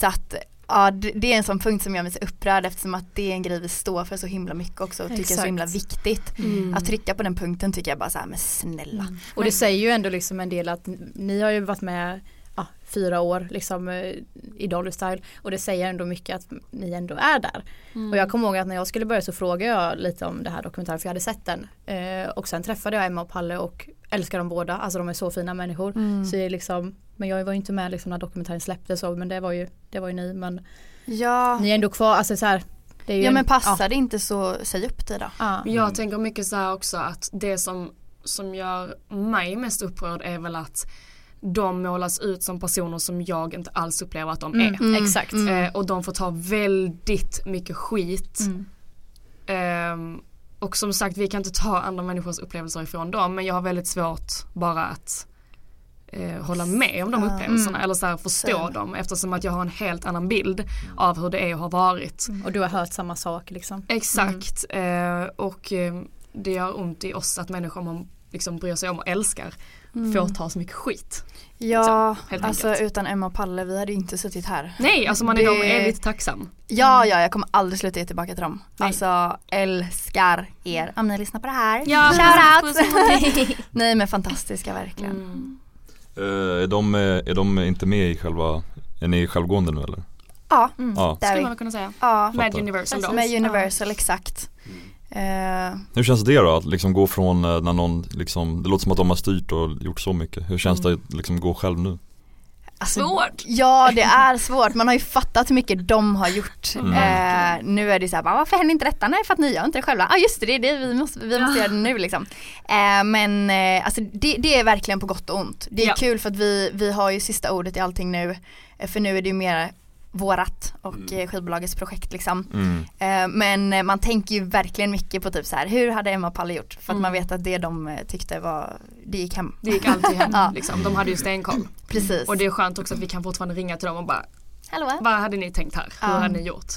Så att ja, det, det är en sån punkt som jag blir så upprörd eftersom att det är en grej vi står för så himla mycket också och tycker är så
Exakt. Mm.
himla viktigt. Att trycka på den punkten tycker jag bara så här men snälla.
Och det säger ju ändå liksom en del att n- ni har ju varit med ja, fyra år liksom eh, i Dolly Style och det säger ändå mycket att ni ändå är där.
Mm.
Och jag kommer ihåg att när jag skulle börja så frågade jag lite om det här dokumentären för jag hade sett den. Eh, och sen träffade jag Emma och Palle och älskar dem båda, alltså de är så fina människor.
Mm.
Så det är liksom, men jag var ju inte med liksom när dokumentären släpptes och, men det var ju, det var ju ni. Men
Ja,
ni är ändå kvar, alltså så här, det är ju
Ah. ja
en-
men passar det inte så säg upp dig då.
Ja.
Men Jag tänker mycket så här också att det som, som gör mig mest upprörd är väl att de målas ut som personer som jag inte alls upplever att de är.
Mm, Exakt.
Eh, och de får ta väldigt mycket skit.
Mm.
Ehm, och som sagt vi kan inte ta andra människors upplevelser ifrån dem men jag har väldigt svårt bara att eh, hålla med om de
Mm.
upplevelserna eller så här förstå
Same.
dem eftersom att jag har en helt annan bild av hur det är och har varit.
Mm.
Och du har hört samma sak liksom.
Exakt eh, och eh, det gör ont i oss att människor man liksom bryr sig om och älskar
Mm.
får ta så mycket skit.
Ja,
Liksom, helt
alltså
enkelt.
utan Emma och Palle, vi hade ju inte suttit här.
Nej alltså man är
Det-
dem evigt tacksam.
Ja, ja, jag kommer aldrig sluta ge tillbaka till dem.
Nej.
Alltså älskar er. Om ni lyssnar på det här.
Ja,
Shout out. <laughs> Nej men fantastiska verkligen.
Mm.
Eh, är, de, eh, är de inte med i själva, är ni självgående nu eller?
Ja,
Ja.
där
Skulle
vi.
man kunna säga.
Ja,
Med
Fattar. Mm.
Universal då.
med Universal exakt. Eh,
Hur känns det då att liksom gå från eh,
Mm.
när någon, liksom, det låter som att de har styrt och gjort så mycket. Hur känns det att liksom gå själv nu?
Alltså,
Svårt.
Ja det är svårt, man har ju fattat hur mycket de har gjort.
Mm.
Eh, nu är det ju såhär, varför händer inte detta? Nej för att ni gör inte det själva. Ja ah, just det, det är det vi måste, vi måste göra det nu liksom. Eh, men eh, alltså, det, det är verkligen på gott och ont. Det är
Ja.
kul för att vi, vi har ju sista ordet i allting nu. Eh, För nu är det ju mer vårat och
Mm.
eh, skivbolagets projekt liksom.
Mm.
Eh, Men eh, man tänker ju verkligen mycket på typ så här, hur hade Emma och Palle gjort? För att man vet att det de eh, tyckte var, det gick hem.
Mm. Det gick alltid hem
<laughs> Ja.
liksom. De hade ju stenkoll.
Precis.
Och det är skönt också att vi kan fortfarande ringa till dem och bara
Hallå?
Vad hade ni tänkt här?
Ja.
Hur
Mm.
hade ni gjort?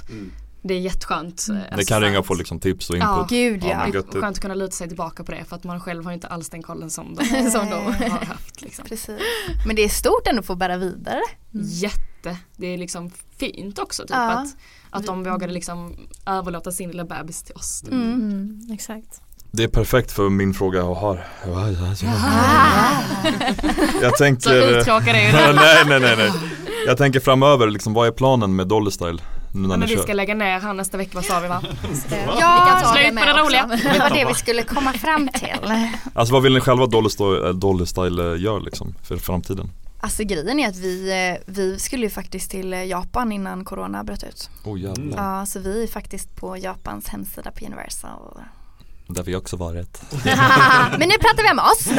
Det är jätteskönt. eh,
Ni
alltså,
kan ringa och få
skönt.
liksom tips och
Ja.
input.
Gud ja.
men
Det är
gött.
Skönt att kunna luta sig tillbaka på det för att man själv har ju inte alls den kollen som de, som de har haft. Liksom.
Precis. Men det är stort ändå att få bära vidare. Mm.
Jätte. Det är liksom fint också typ
Ja. Mm.
att, att de vågade liksom överlåta sin lilla bebis till oss. Typ.
Mm, exakt.
Det är perfekt för min fråga jag har. <laughs> Jag
Så
tänker... eh,
uttråkade är ju det.
<laughs> nej, nej, nej, nej. Jag tänker framöver, liksom, vad är planen med Dolly Style? Nu när
Men
ni
vi
kör?
ska lägga ner han nästa vecka, vad sa vi va?
<laughs>
Ja,
slut på det roliga.
Det <laughs> var det vi skulle komma fram till.
Alltså vad vill ni själva Dolly Style, eh, Dolly Style eh, gör liksom för framtiden?
Alltså grejen är att vi, eh, vi skulle ju faktiskt till eh, Japan innan corona bröt ut.
Oh jävlar,
Ja, så vi är faktiskt på Japans hemsida på Universal.
där vi också varit.
<laughs> men nu pratar vi om oss.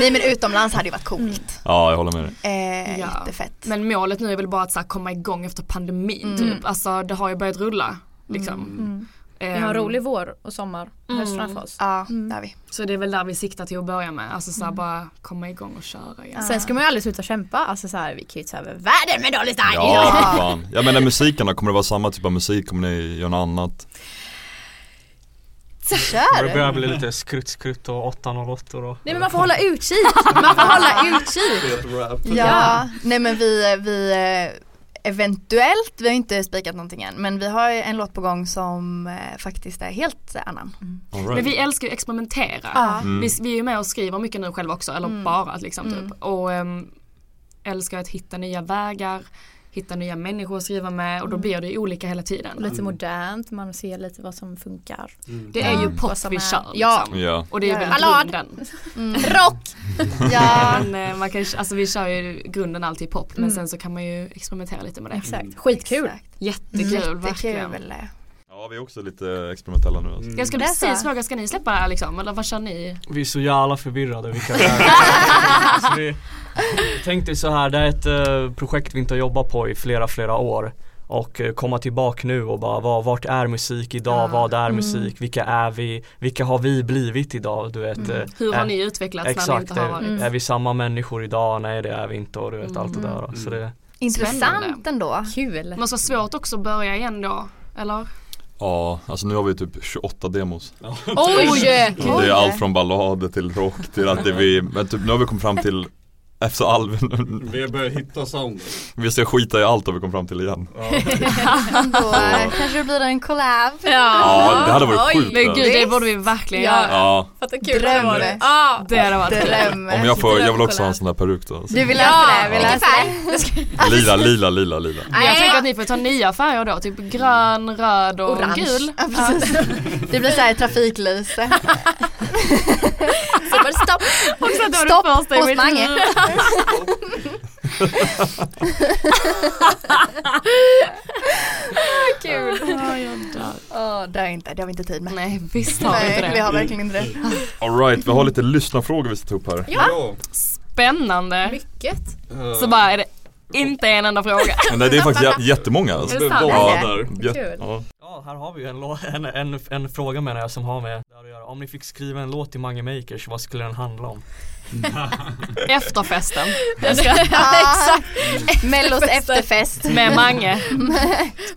Nej men utomlands hade ju varit coolt.
<laughs> Ja, jag håller med dig.
Eh,
Ja.
Jättefett.
Men målet nu är väl bara att så här, komma igång efter pandemin
Mm.
typ. Alltså det har ju börjat rulla. Liksom.
Mm. Vi har en
Ehm,
rolig vår och sommar, höst framför oss.
Mm.
Mm.
Ja, det har vi.
Så det är väl där vi siktar till att börja med. Alltså så här,
Mm.
bara komma igång och köra igen.
Sen ska man ju aldrig sluta kämpa, alltså så här, vi kan ju ta över världen med Dolly Style! <laughs>
Ja, för fan. Jag menar musiken då, kommer det vara samma typ av musik? Kommer ni göra något annat?
Det
Kör!
börjar bli lite skrutt-skrutt och 808 och
Nej men man får hålla utkik, man får hålla utkik!
Ja, nej men vi, vi eh, eventuellt, vi har inte spikat någonting än, men vi har en låt på gång som eh, faktiskt är helt annan.
All
Men
right.
vi älskar ju att experimentera. Vi, vi är ju med och skriver mycket nu själva också,
Mm.
eller bara liksom typ. Och äm, älskar att hitta nya vägar, hitta nya människor att skriva med
Mm.
och då blir det ju olika hela tiden.
Lite modernt, man ser lite vad som funkar.
Det är ju
Mm. Vad
pop
som
vi
är-
kör liksom.
Ja.
Ja,
Och det är
Ja, ja.
väl
Ballad. Mm.
grunden. <laughs>
Rock!
Ja,
Men eh, man kan, alltså vi kör ju grunden alltid pop men sen så kan man ju experimentera lite med det.
Mm. Exakt, skitkul! Mm.
exakt.
Jättekul, verkligen.
Jättekul.
eh.
ja vi är också lite experimentella nu alltså.
Jag skulle
Det är
precis
så.
fråga, ska ni släppa det här liksom? Eller vad kör ni?
Vi är så jävla förvirrade vilka det är. alltså, det, Tänk dig så här, det här är ett eh, projekt vi inte har jobbat på i flera flera år och eh, komma tillbaka nu och bara vad, vart är musik idag, vad är musik, vilka är vi, vilka har vi blivit idag du vet eh,
Mm. Hur har
är-
ni utvecklats när ni
Exakt, Mm.
inte har varit?
är, är vi samma människor idag, nej det är vi inte och du vet allt det där då. så
Mm.
det,
Intressant
Spännande.
ändå.
Kul!
Det måste vara svårt också att börja igen då, eller?
Ja, alltså nu har vi typ 28 demos.
Oj!
Det är allt från ballader till rock till att det vi, men typ nu har vi kommit fram till efter alven,
Vi börjar hitta soundet.
<laughs> vi ska skita i allt har vi kommit fram till igen.
Då eh, kanske det blir en collab.
Ja, det hade varit sjukt.
Men gud, det
Visst.
borde vi verkligen
Ja.
göra.
Ja,
Fatta kul det
Dröm.
var det! Ja!
Det hade varit
Dröm.
om jag får, jag vill också ha en sån där peruk då. alltså.
Du vill läsa det? Vill
vilken
läsa det? <laughs>
Lila, lila, lila, lila.
Men jag tänker att ni får ta nya färger då, typ grön, röd och
Orange.
gul.
Ja, precis. Det blir såhär
<laughs>
trafiklyse.
Så bara stopp!
Stopp hos Mange. <laughs>
<laughs>
Kul. Åh, det har jag inte, det har vi inte tid med.
Nej, visst har vi inte
Nej, vi
det.
har verkligen inte det.
Alright, vi har lite lyssnarfrågor vi ska ta upp här.
Spännande.
Mycket!
Så bara är det inte en enda fråga.
Men Eh. <laughs> nej, det är faktiskt jä- jättemånga alltså.
Är det sant?
Ja, där.
Kul.
Ja.
Ja, här har vi ju en, lå- <laughs> en, en, en fråga menar jag som har med det här att göra. Om ni fick skriva en låt till Mange Makers, vad skulle den handla om?
<laughs>
Efter festen <laughs>
Mellos efterfest.
<laughs>
med Mange.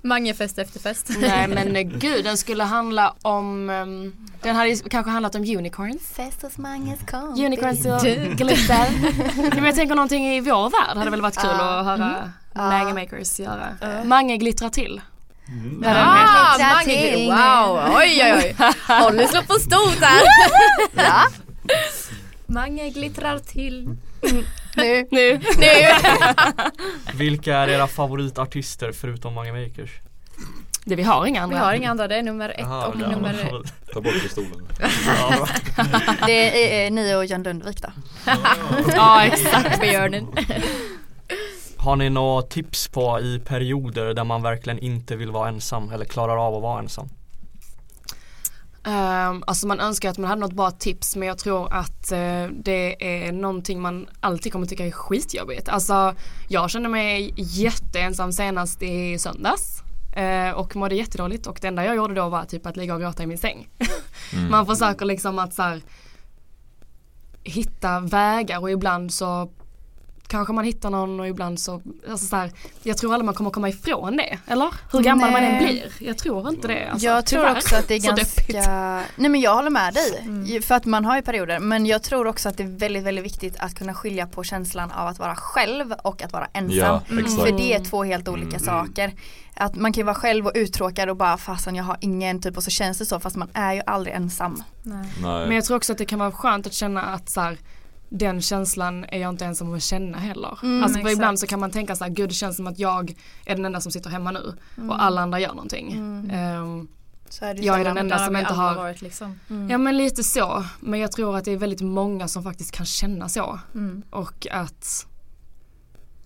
Mange fest efter fest.
Nej men eh, gud, den skulle handla om, ehm, den hade ju kanske handlat om unicorns.
Fest hos Manges kompis.
Unicorns
Alltså,
och <laughs> glitter. Nej, men jag tänker någonting i vår värld hade väl varit kul
Mm.
att höra Mange Makers göra. Mange glittrar till.
Ah,
Lycka
Mange,
till.
wow, oj oj <laughs> oj. Holly slår på stort här.
Ja,
Mange glittrar till.
nu.
Nu.
<laughs> Nu.
Vilka är era favoritartister förutom Mange Makers?
Det, vi har inga andra.
Vi har inga andra, det är nummer ett
Jaha,
och
ja.
nummer...
Ta bort pistolen.
<laughs> Det är eh, ni och John Lundvik då. <laughs>
Ja, exakt.
Björnen.
<laughs> Har ni några tips på i perioder där man verkligen inte vill vara ensam eller klarar av att vara ensam?
Ehm, alltså man önskar att man hade något bra tips men jag tror att eh, det är någonting man alltid kommer tycka är skitjobbigt. Alltså jag kände mig jätteensam senast i söndags eh, och mådde jättedåligt och det enda jag gjorde då var typ att ligga och gråta i min säng.
Mm.
Man försöker liksom att så här, hitta vägar och ibland så kanske man hittar någon och ibland så, alltså så här, jag tror aldrig man kommer komma ifrån det. Eller? Hur gammal man än
Nej.
blir. Jag tror inte det. Alltså,
jag Mm. tror
tyvärr.
också att det är
<laughs> Så deppigt.
ganska, nej men jag håller med dig. Ju- För att man har ju perioder. Men jag tror också att det är väldigt, väldigt viktigt att kunna skilja på känslan av att vara själv och att vara ensam.
Ja, Mm. exakt.
För det är två helt olika
Mm.
saker. Att man kan ju vara själv och uttråkad och bara fasen jag har ingen typ och så känns det så fast man är ju aldrig ensam.
Men jag tror också att det kan vara skönt att känna att så här, den känslan är jag inte ensam om att känna heller.
Mm,
alltså för
exakt.
ibland så kan man tänka så här, gud det känns som att jag är den enda som sitter hemma nu
Mm.
och alla andra gör någonting.
Mm.
Ehm,
Så är det ju
jag är
sällan,
den
men
enda
där
som
har vi
inte
alla
har,
varit liksom. Mm.
ja men lite så. Men jag tror att det är väldigt många som faktiskt kan känna så.
Mm.
Och att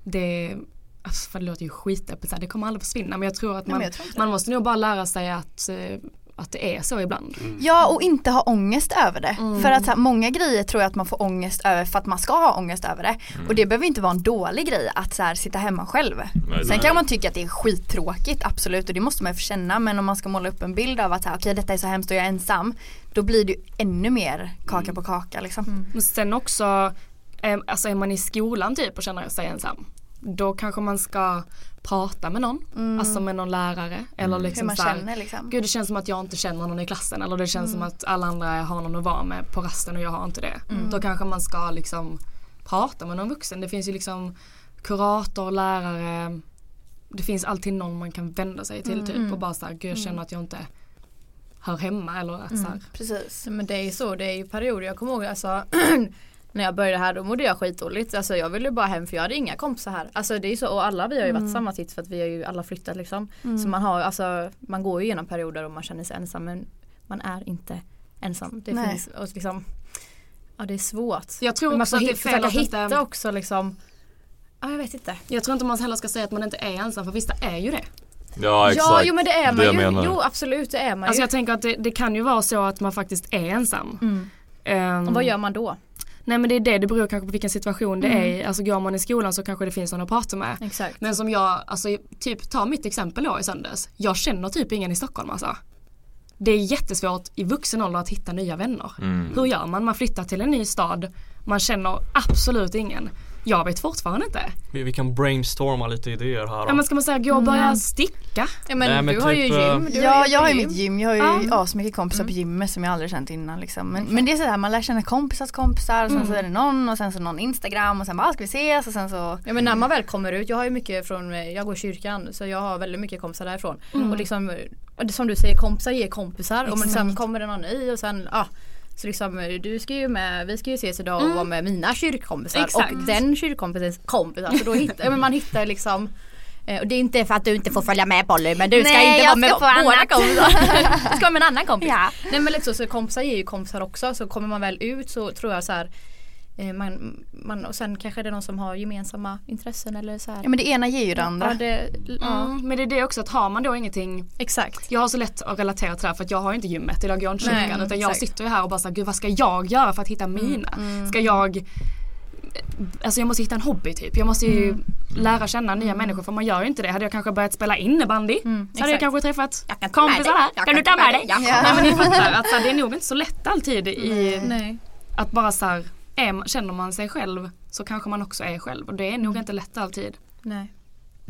det, alltså, för det låter ju skitdeppigt, så här, det kommer aldrig försvinna. Men jag tror att
Nej,
man,
men jag tror inte
man måste nog bara lära sig att, eh, att det är så ibland.
Mm.
Ja och inte ha ångest över det. För att så här, många grejer tror jag att man får ångest över för att man ska ha ångest över det.
Mm.
Och det behöver inte vara en dålig grej att så här, sitta hemma själv.
Nej,
Sen
nej.
kan man tycka att det är skittråkigt absolut och det måste man ju få känna men om man ska måla upp en bild av att så här, okej detta är så hemskt och jag är ensam. Då blir det ju ännu mer kaka
Mm.
på kaka liksom.
Men sen också, eh, alltså är man i skolan typ och känner sig ensam, då kanske man ska prata med någon,
Mm.
alltså med någon lärare eller liksom
Hur man
så här,
känner liksom.
Gud det känns som att jag inte känner någon i klassen eller det känns
Mm.
som att alla andra har någon att vara med på rasten och jag har inte det.
Mm.
Då kanske man ska liksom prata med någon vuxen. Det finns ju liksom kurator, lärare. Det finns alltid någon man kan vända sig till
Mm.
typ och bara såhär, gud jag
Mm.
känner att jag inte hör hemma eller att så här,
Mm, Precis.
Men det är ju så, det är ju perioder. Jag kommer ihåg alltså <clears throat> när jag började här då mådde jag skitdåligt. Alltså jag ville bara hem för jag hade inga kompisar här. Alltså det är ju så och alla vi har ju varit
Mm.
samma sits för att vi har ju alla flyttat liksom.
Mm.
Så man har alltså man går ju igenom perioder och man känner sig ensam men man är inte ensam. Det
Nej.
finns och liksom Ja det är svårt.
Jag tror
Men man
också
får
att det är
hit-
fel
försöka
att inte-
hitta också liksom Ja jag vet inte.
Jag tror inte man heller ska säga att man inte är ensam för vissa är ju det.
Ja exakt.
Ja jo men det är man
jag
ju.
menar.
Jo absolut det är man
Alltså
ju.
jag tänker att det, det kan ju vara så att man faktiskt är ensam.
Mm.
Ehm,
Och vad gör man då? Mm.
Nej men det är det, det beror kanske på vilken situation det är i. Alltså går man i skolan så kanske det finns någon att prata med.
Exakt.
Men som jag, alltså typ ta mitt exempel då i söndags. Jag känner typ ingen i Stockholm alltså. Det är jättesvårt i vuxen ålder att hitta nya vänner.
Mm.
Hur gör man? Man flyttar till en ny stad, man känner absolut ingen. Jag vet fortfarande inte.
Vi, vi kan brainstorma lite idéer här.
Ja, men ska man säga gå och börja
Mm.
sticka?
Ja,
men Nej, men du har typ, ju gym. Du
ja
är ju
jag har ju
på
mitt gym, jag har ju
Ja.
asmycket kompisar på gymmet som jag aldrig känt innan liksom. Men, men det är sådär man lär känna kompisars kompisar och sen så
Mm.
är det någon och sen så någon instagram och sen bara ah, ska vi ses och sen så
Ja men när man väl kommer ut, jag har ju mycket från, eh, jag går i kyrkan så jag har väldigt mycket kompisar därifrån.
Mm.
Och liksom, eh, och det- som du säger kompisar ger kompisar och men sen
Exakt.
kommer det någon ny och sen ja. Så liksom eh, du ska ju med, vi ska ju ses idag och
Mm.
vara med mina kyrkkompisar
Exakt.
och den kyrkkompisens kompisar. Så då hittar, ja, men man hittar liksom eh, och det är inte för att du inte får följa med Polly men du ska
Nej,
inte
jag
vara med
ska få
våra
annat.
<laughs>
kompisar. du ska vara med en annan kompis.
Ja.
Nej men liksom så kompisar ger ju kompisar också så kommer man väl ut så tror jag så här eh, man, man, och sen kanske det är någon som har gemensamma intressen eller så här.
Ja men det ena ger ju det andra.
Ja, det, ja.
Mm, men det är det också att har man då ingenting
Exakt.
Jag har så lätt att relatera till det här för att jag har ju inte gymmet eller går jag inte
Nej,
kyrkan utan jag
exakt.
sitter ju här och bara såhär gud vad ska jag göra för att hitta mina?
mm.
Ska jag Alltså jag måste hitta en hobby typ. Jag måste ju
Mm. Mm,
lära känna nya människor för man gör ju inte det. Hade jag kanske börjat spela innebandy så hade jag
exakt.
kanske träffat
Jag kan ta med
kompisar
dig.
där.
Jag
Kan, du ta med dig?
Jag kan
Nej
ta
men
med
ni
dig.
fattar att så här, det är nog inte så lätt alltid i
Nej.
att bara såhär känner man sig själv så kanske man också är själv och det är nog inte lätt alltid.
Mm. Nej.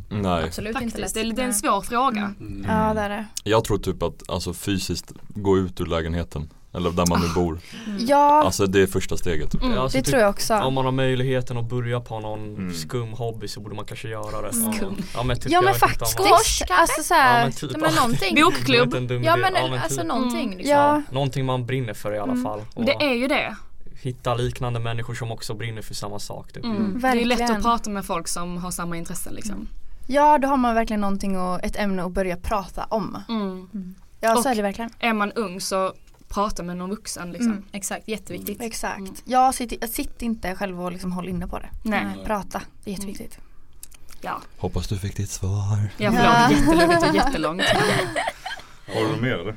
Nej.
Absolut inte lätt.
Faktiskt, det är, det är en
Nej.
svår fråga.
Mm. Ja det är det.
Jag tror typ att alltså, fysiskt gå ut ur lägenheten eller där man nu bor.
Ja
Alltså det är första steget. Typ.
Ja, alltså
det
typ-
tror jag också.
Om man har möjligheten att börja på någon
Mm.
skum hobby så borde man kanske göra det.
Mm. Skum.
Ja men, typ,
Ja
jag
men
vet inte om
faktiskt.
man-
Squash, alltså såhär.
Ja, men typ.
Ja, men någonting.
Det var inte en dum
Ja
idé.
men,
Ja, men
alltså
typ.
någonting.
Mm.
Liksom.
Ja.
Någonting man brinner för i alla
Mm.
fall. Och
Men det är ju det.
hitta liknande människor som också brinner för samma sak. Typ.
Mm. Det är ju
Verkligen.
lätt att prata med folk som har samma intressen liksom.
Ja, då har man verkligen någonting och ett ämne att börja prata om.
Mm.
Ja,
Och
så är det verkligen.
Är man ung så prata med någon vuxen liksom. Mm.
Mm, exakt, jätteviktigt.
Exakt. Ja, sitt, sitt inte själv och liksom håll inne på det. Mm.
Nej.
Prata, det är jätteviktigt. <laughs>
Ja,
Hoppas du fick ditt svar.
ja förlåt. Jättelugnt och <laughs> jättelångt.
<laughs> Har du något mer eller?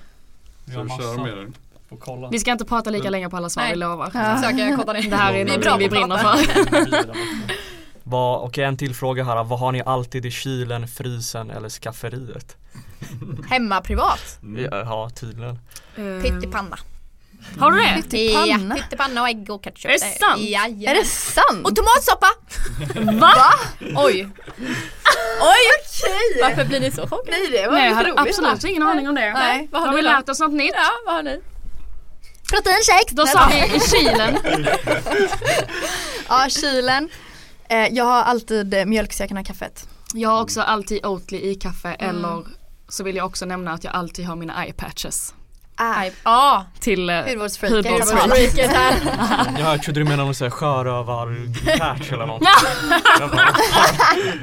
Ska vi köra med den?
Får kolla.
Vi ska inte prata lika länge på alla svar,
Nej.
vi lovar.
Ja. Försöker korta ner.
Det här är
Vi är
någonting
bra
vi
på att
brinner
prata.
för.
Vad, okej en till fråga här. Vad har ni alltid i kylen, frysen eller skafferiet?
<laughs> Hemma privat.
Mm.
Ja, ja tydligen.
Eh,
Pyttipanna.
Har du det?
Ja, pyttipanna och ägg och ketchup.
Är det sant?
Ja, ja.
Mm. Är det sant?
Och tomatsoppa! Va?
<laughs>
Oj. Oj! Okej! Varför blir ni så chockade?
Nej, det var
Nej, jag
lite
hade
roligt.
absolut ingen aning om det.
Nej, vad har
har
ni
vi
då?
lärt oss något nytt?
Ja, vad har ni?
Proteinshakes!
Då sa
<laughs>
vi i kylen.
Ja, kylen. Eh, jag har alltid eh, mjölksäkarna i
<laughs>
kaffet.
Jag har också alltid Oatly i kaffe eller så vill jag också nämna att jag alltid har mina eye patches
Ah,
Ja,
till eh,
hudvårdsfreaker.
Hudvårdsfreaker.
freaket
<laughs>
här.
Jag trodde du menade någon sån här
<laughs>
sjörövar-patch eller någonting. Jag bara,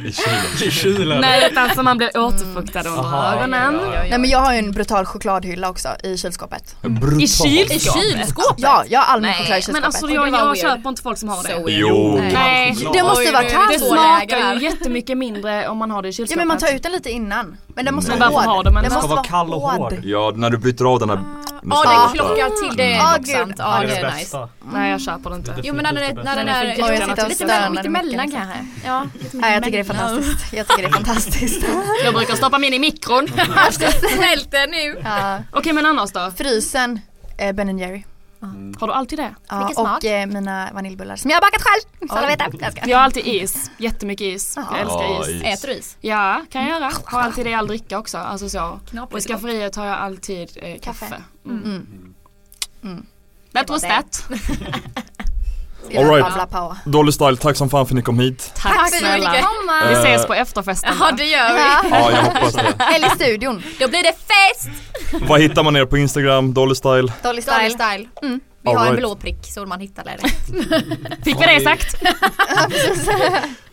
I kylen.
I kylen.
Nej utan så alltså man blir återfuktad under
Aha,
ögonen.
ja, ja, ja.
Nej men jag har ju en brutal chokladhylla också i kylskåpet.
I kyl.
I kylskåpet?
Ja, jag har all min
Nej,
choklad i kylskåpet.
Men alltså
det
jag,
var
jag
weird.
köper inte folk som har det.
So weird.
Jo.
Nej.
Det måste
Oj,
vara
nu är
Det
det så
kallt.
läge
smakar
här.
ju jättemycket mindre om man har det i
Ja
kylskåpet.
men man tar ut den lite innan. Men den måste
Men
vara
varför
hård.
har de
den
en- Den
måste
ska vara kall och hård.
Ja, när du byter av den här
Ja,
nästan
den
åtta.
klockar till. Det är
Ja,
ah,
Mm. gud.
sant. Ja,
Det är
det
det
är nice.
bästa.
Nej jag köper det inte.
Jo men när den är, när den är
Den är för
lite-
jag sitter och
lite
stönar
mitt
mycket,
emellan
liksom.
kanske. Ja,
Nej jag tycker det är fantastiskt. Jag tycker det är fantastiskt.
<laughs> Jag brukar stoppa min
<laughs>
i mikron.
Smälter nu.
Ja.
Okej men annars då? Mm.
Frysen, eh, Ben Jerry.
Har du alltid det?
Ja,
Vilken smak?
och eh, mina vaniljbullar som jag har bakat själv. Så alla vet det. Jag ska.
Jag har alltid is. Jättemycket is. Jag älskar is.
Äter du is?
Ja, kan jag göra.
Mm.
Har alltid det jag all dricka också. Alltså så.
Knappt
Och i
lite gott.
skafferiet har jag alltid eh, kaffe. Mm.
Mm.
That was
Det.
that.
All right.
Babbla på.
Dolly Style, tack som fan för att ni kom hit.
Tack snälla.
Komma.
Vi
Eh,
ses på efterfesten.
Ja det gör vi.
Ja.
Ja, jag hoppas det.
Eller i studion.
Då blir det fest!
Vad hittar man er på Instagram? Dolly Style?
Dolly
Style.
style.
Style. Mm. Vi
All
har en
right.
blå prick så man hittar
<laughs>
det.
Fick vi det sagt?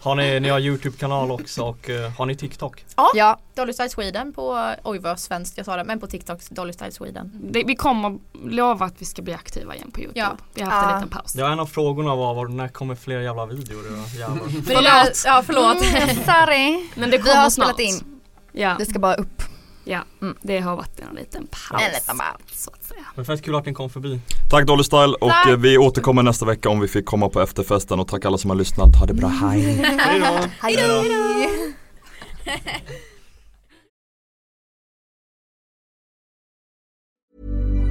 Har ni, ni har YouTube-kanal också och eh, har ni TikTok?
Ja.
Dolly Style Sweden på, oj vad svenskt jag sa det, men på TikTok Dolly Style Sweden.
Det, vi kommer lova att vi ska bli aktiva igen på Youtube.
Ja.
Vi har haft en
Ja.
liten paus.
Ja en av frågorna var, var när kommer fler jävla videor? Ja, jävlar.
Förlåt! Ja förlåt.
Mm,
Mm.
<laughs> Sorry.
Men det
Vi
kommer
har
snart.
spelat in.
Ja,
Det ska bara upp.
ja. Mm. det har varit en liten paus.
En liten bara.
Så att säga.
Men fett kul att ni kom förbi.
Tack Dolly Style och eh, vi återkommer nästa vecka om vi fick komma på efterfesten och tack alla som har lyssnat. Ha det bra, hej!
Hejdå!
Hejdå. Hejdå.
<laughs>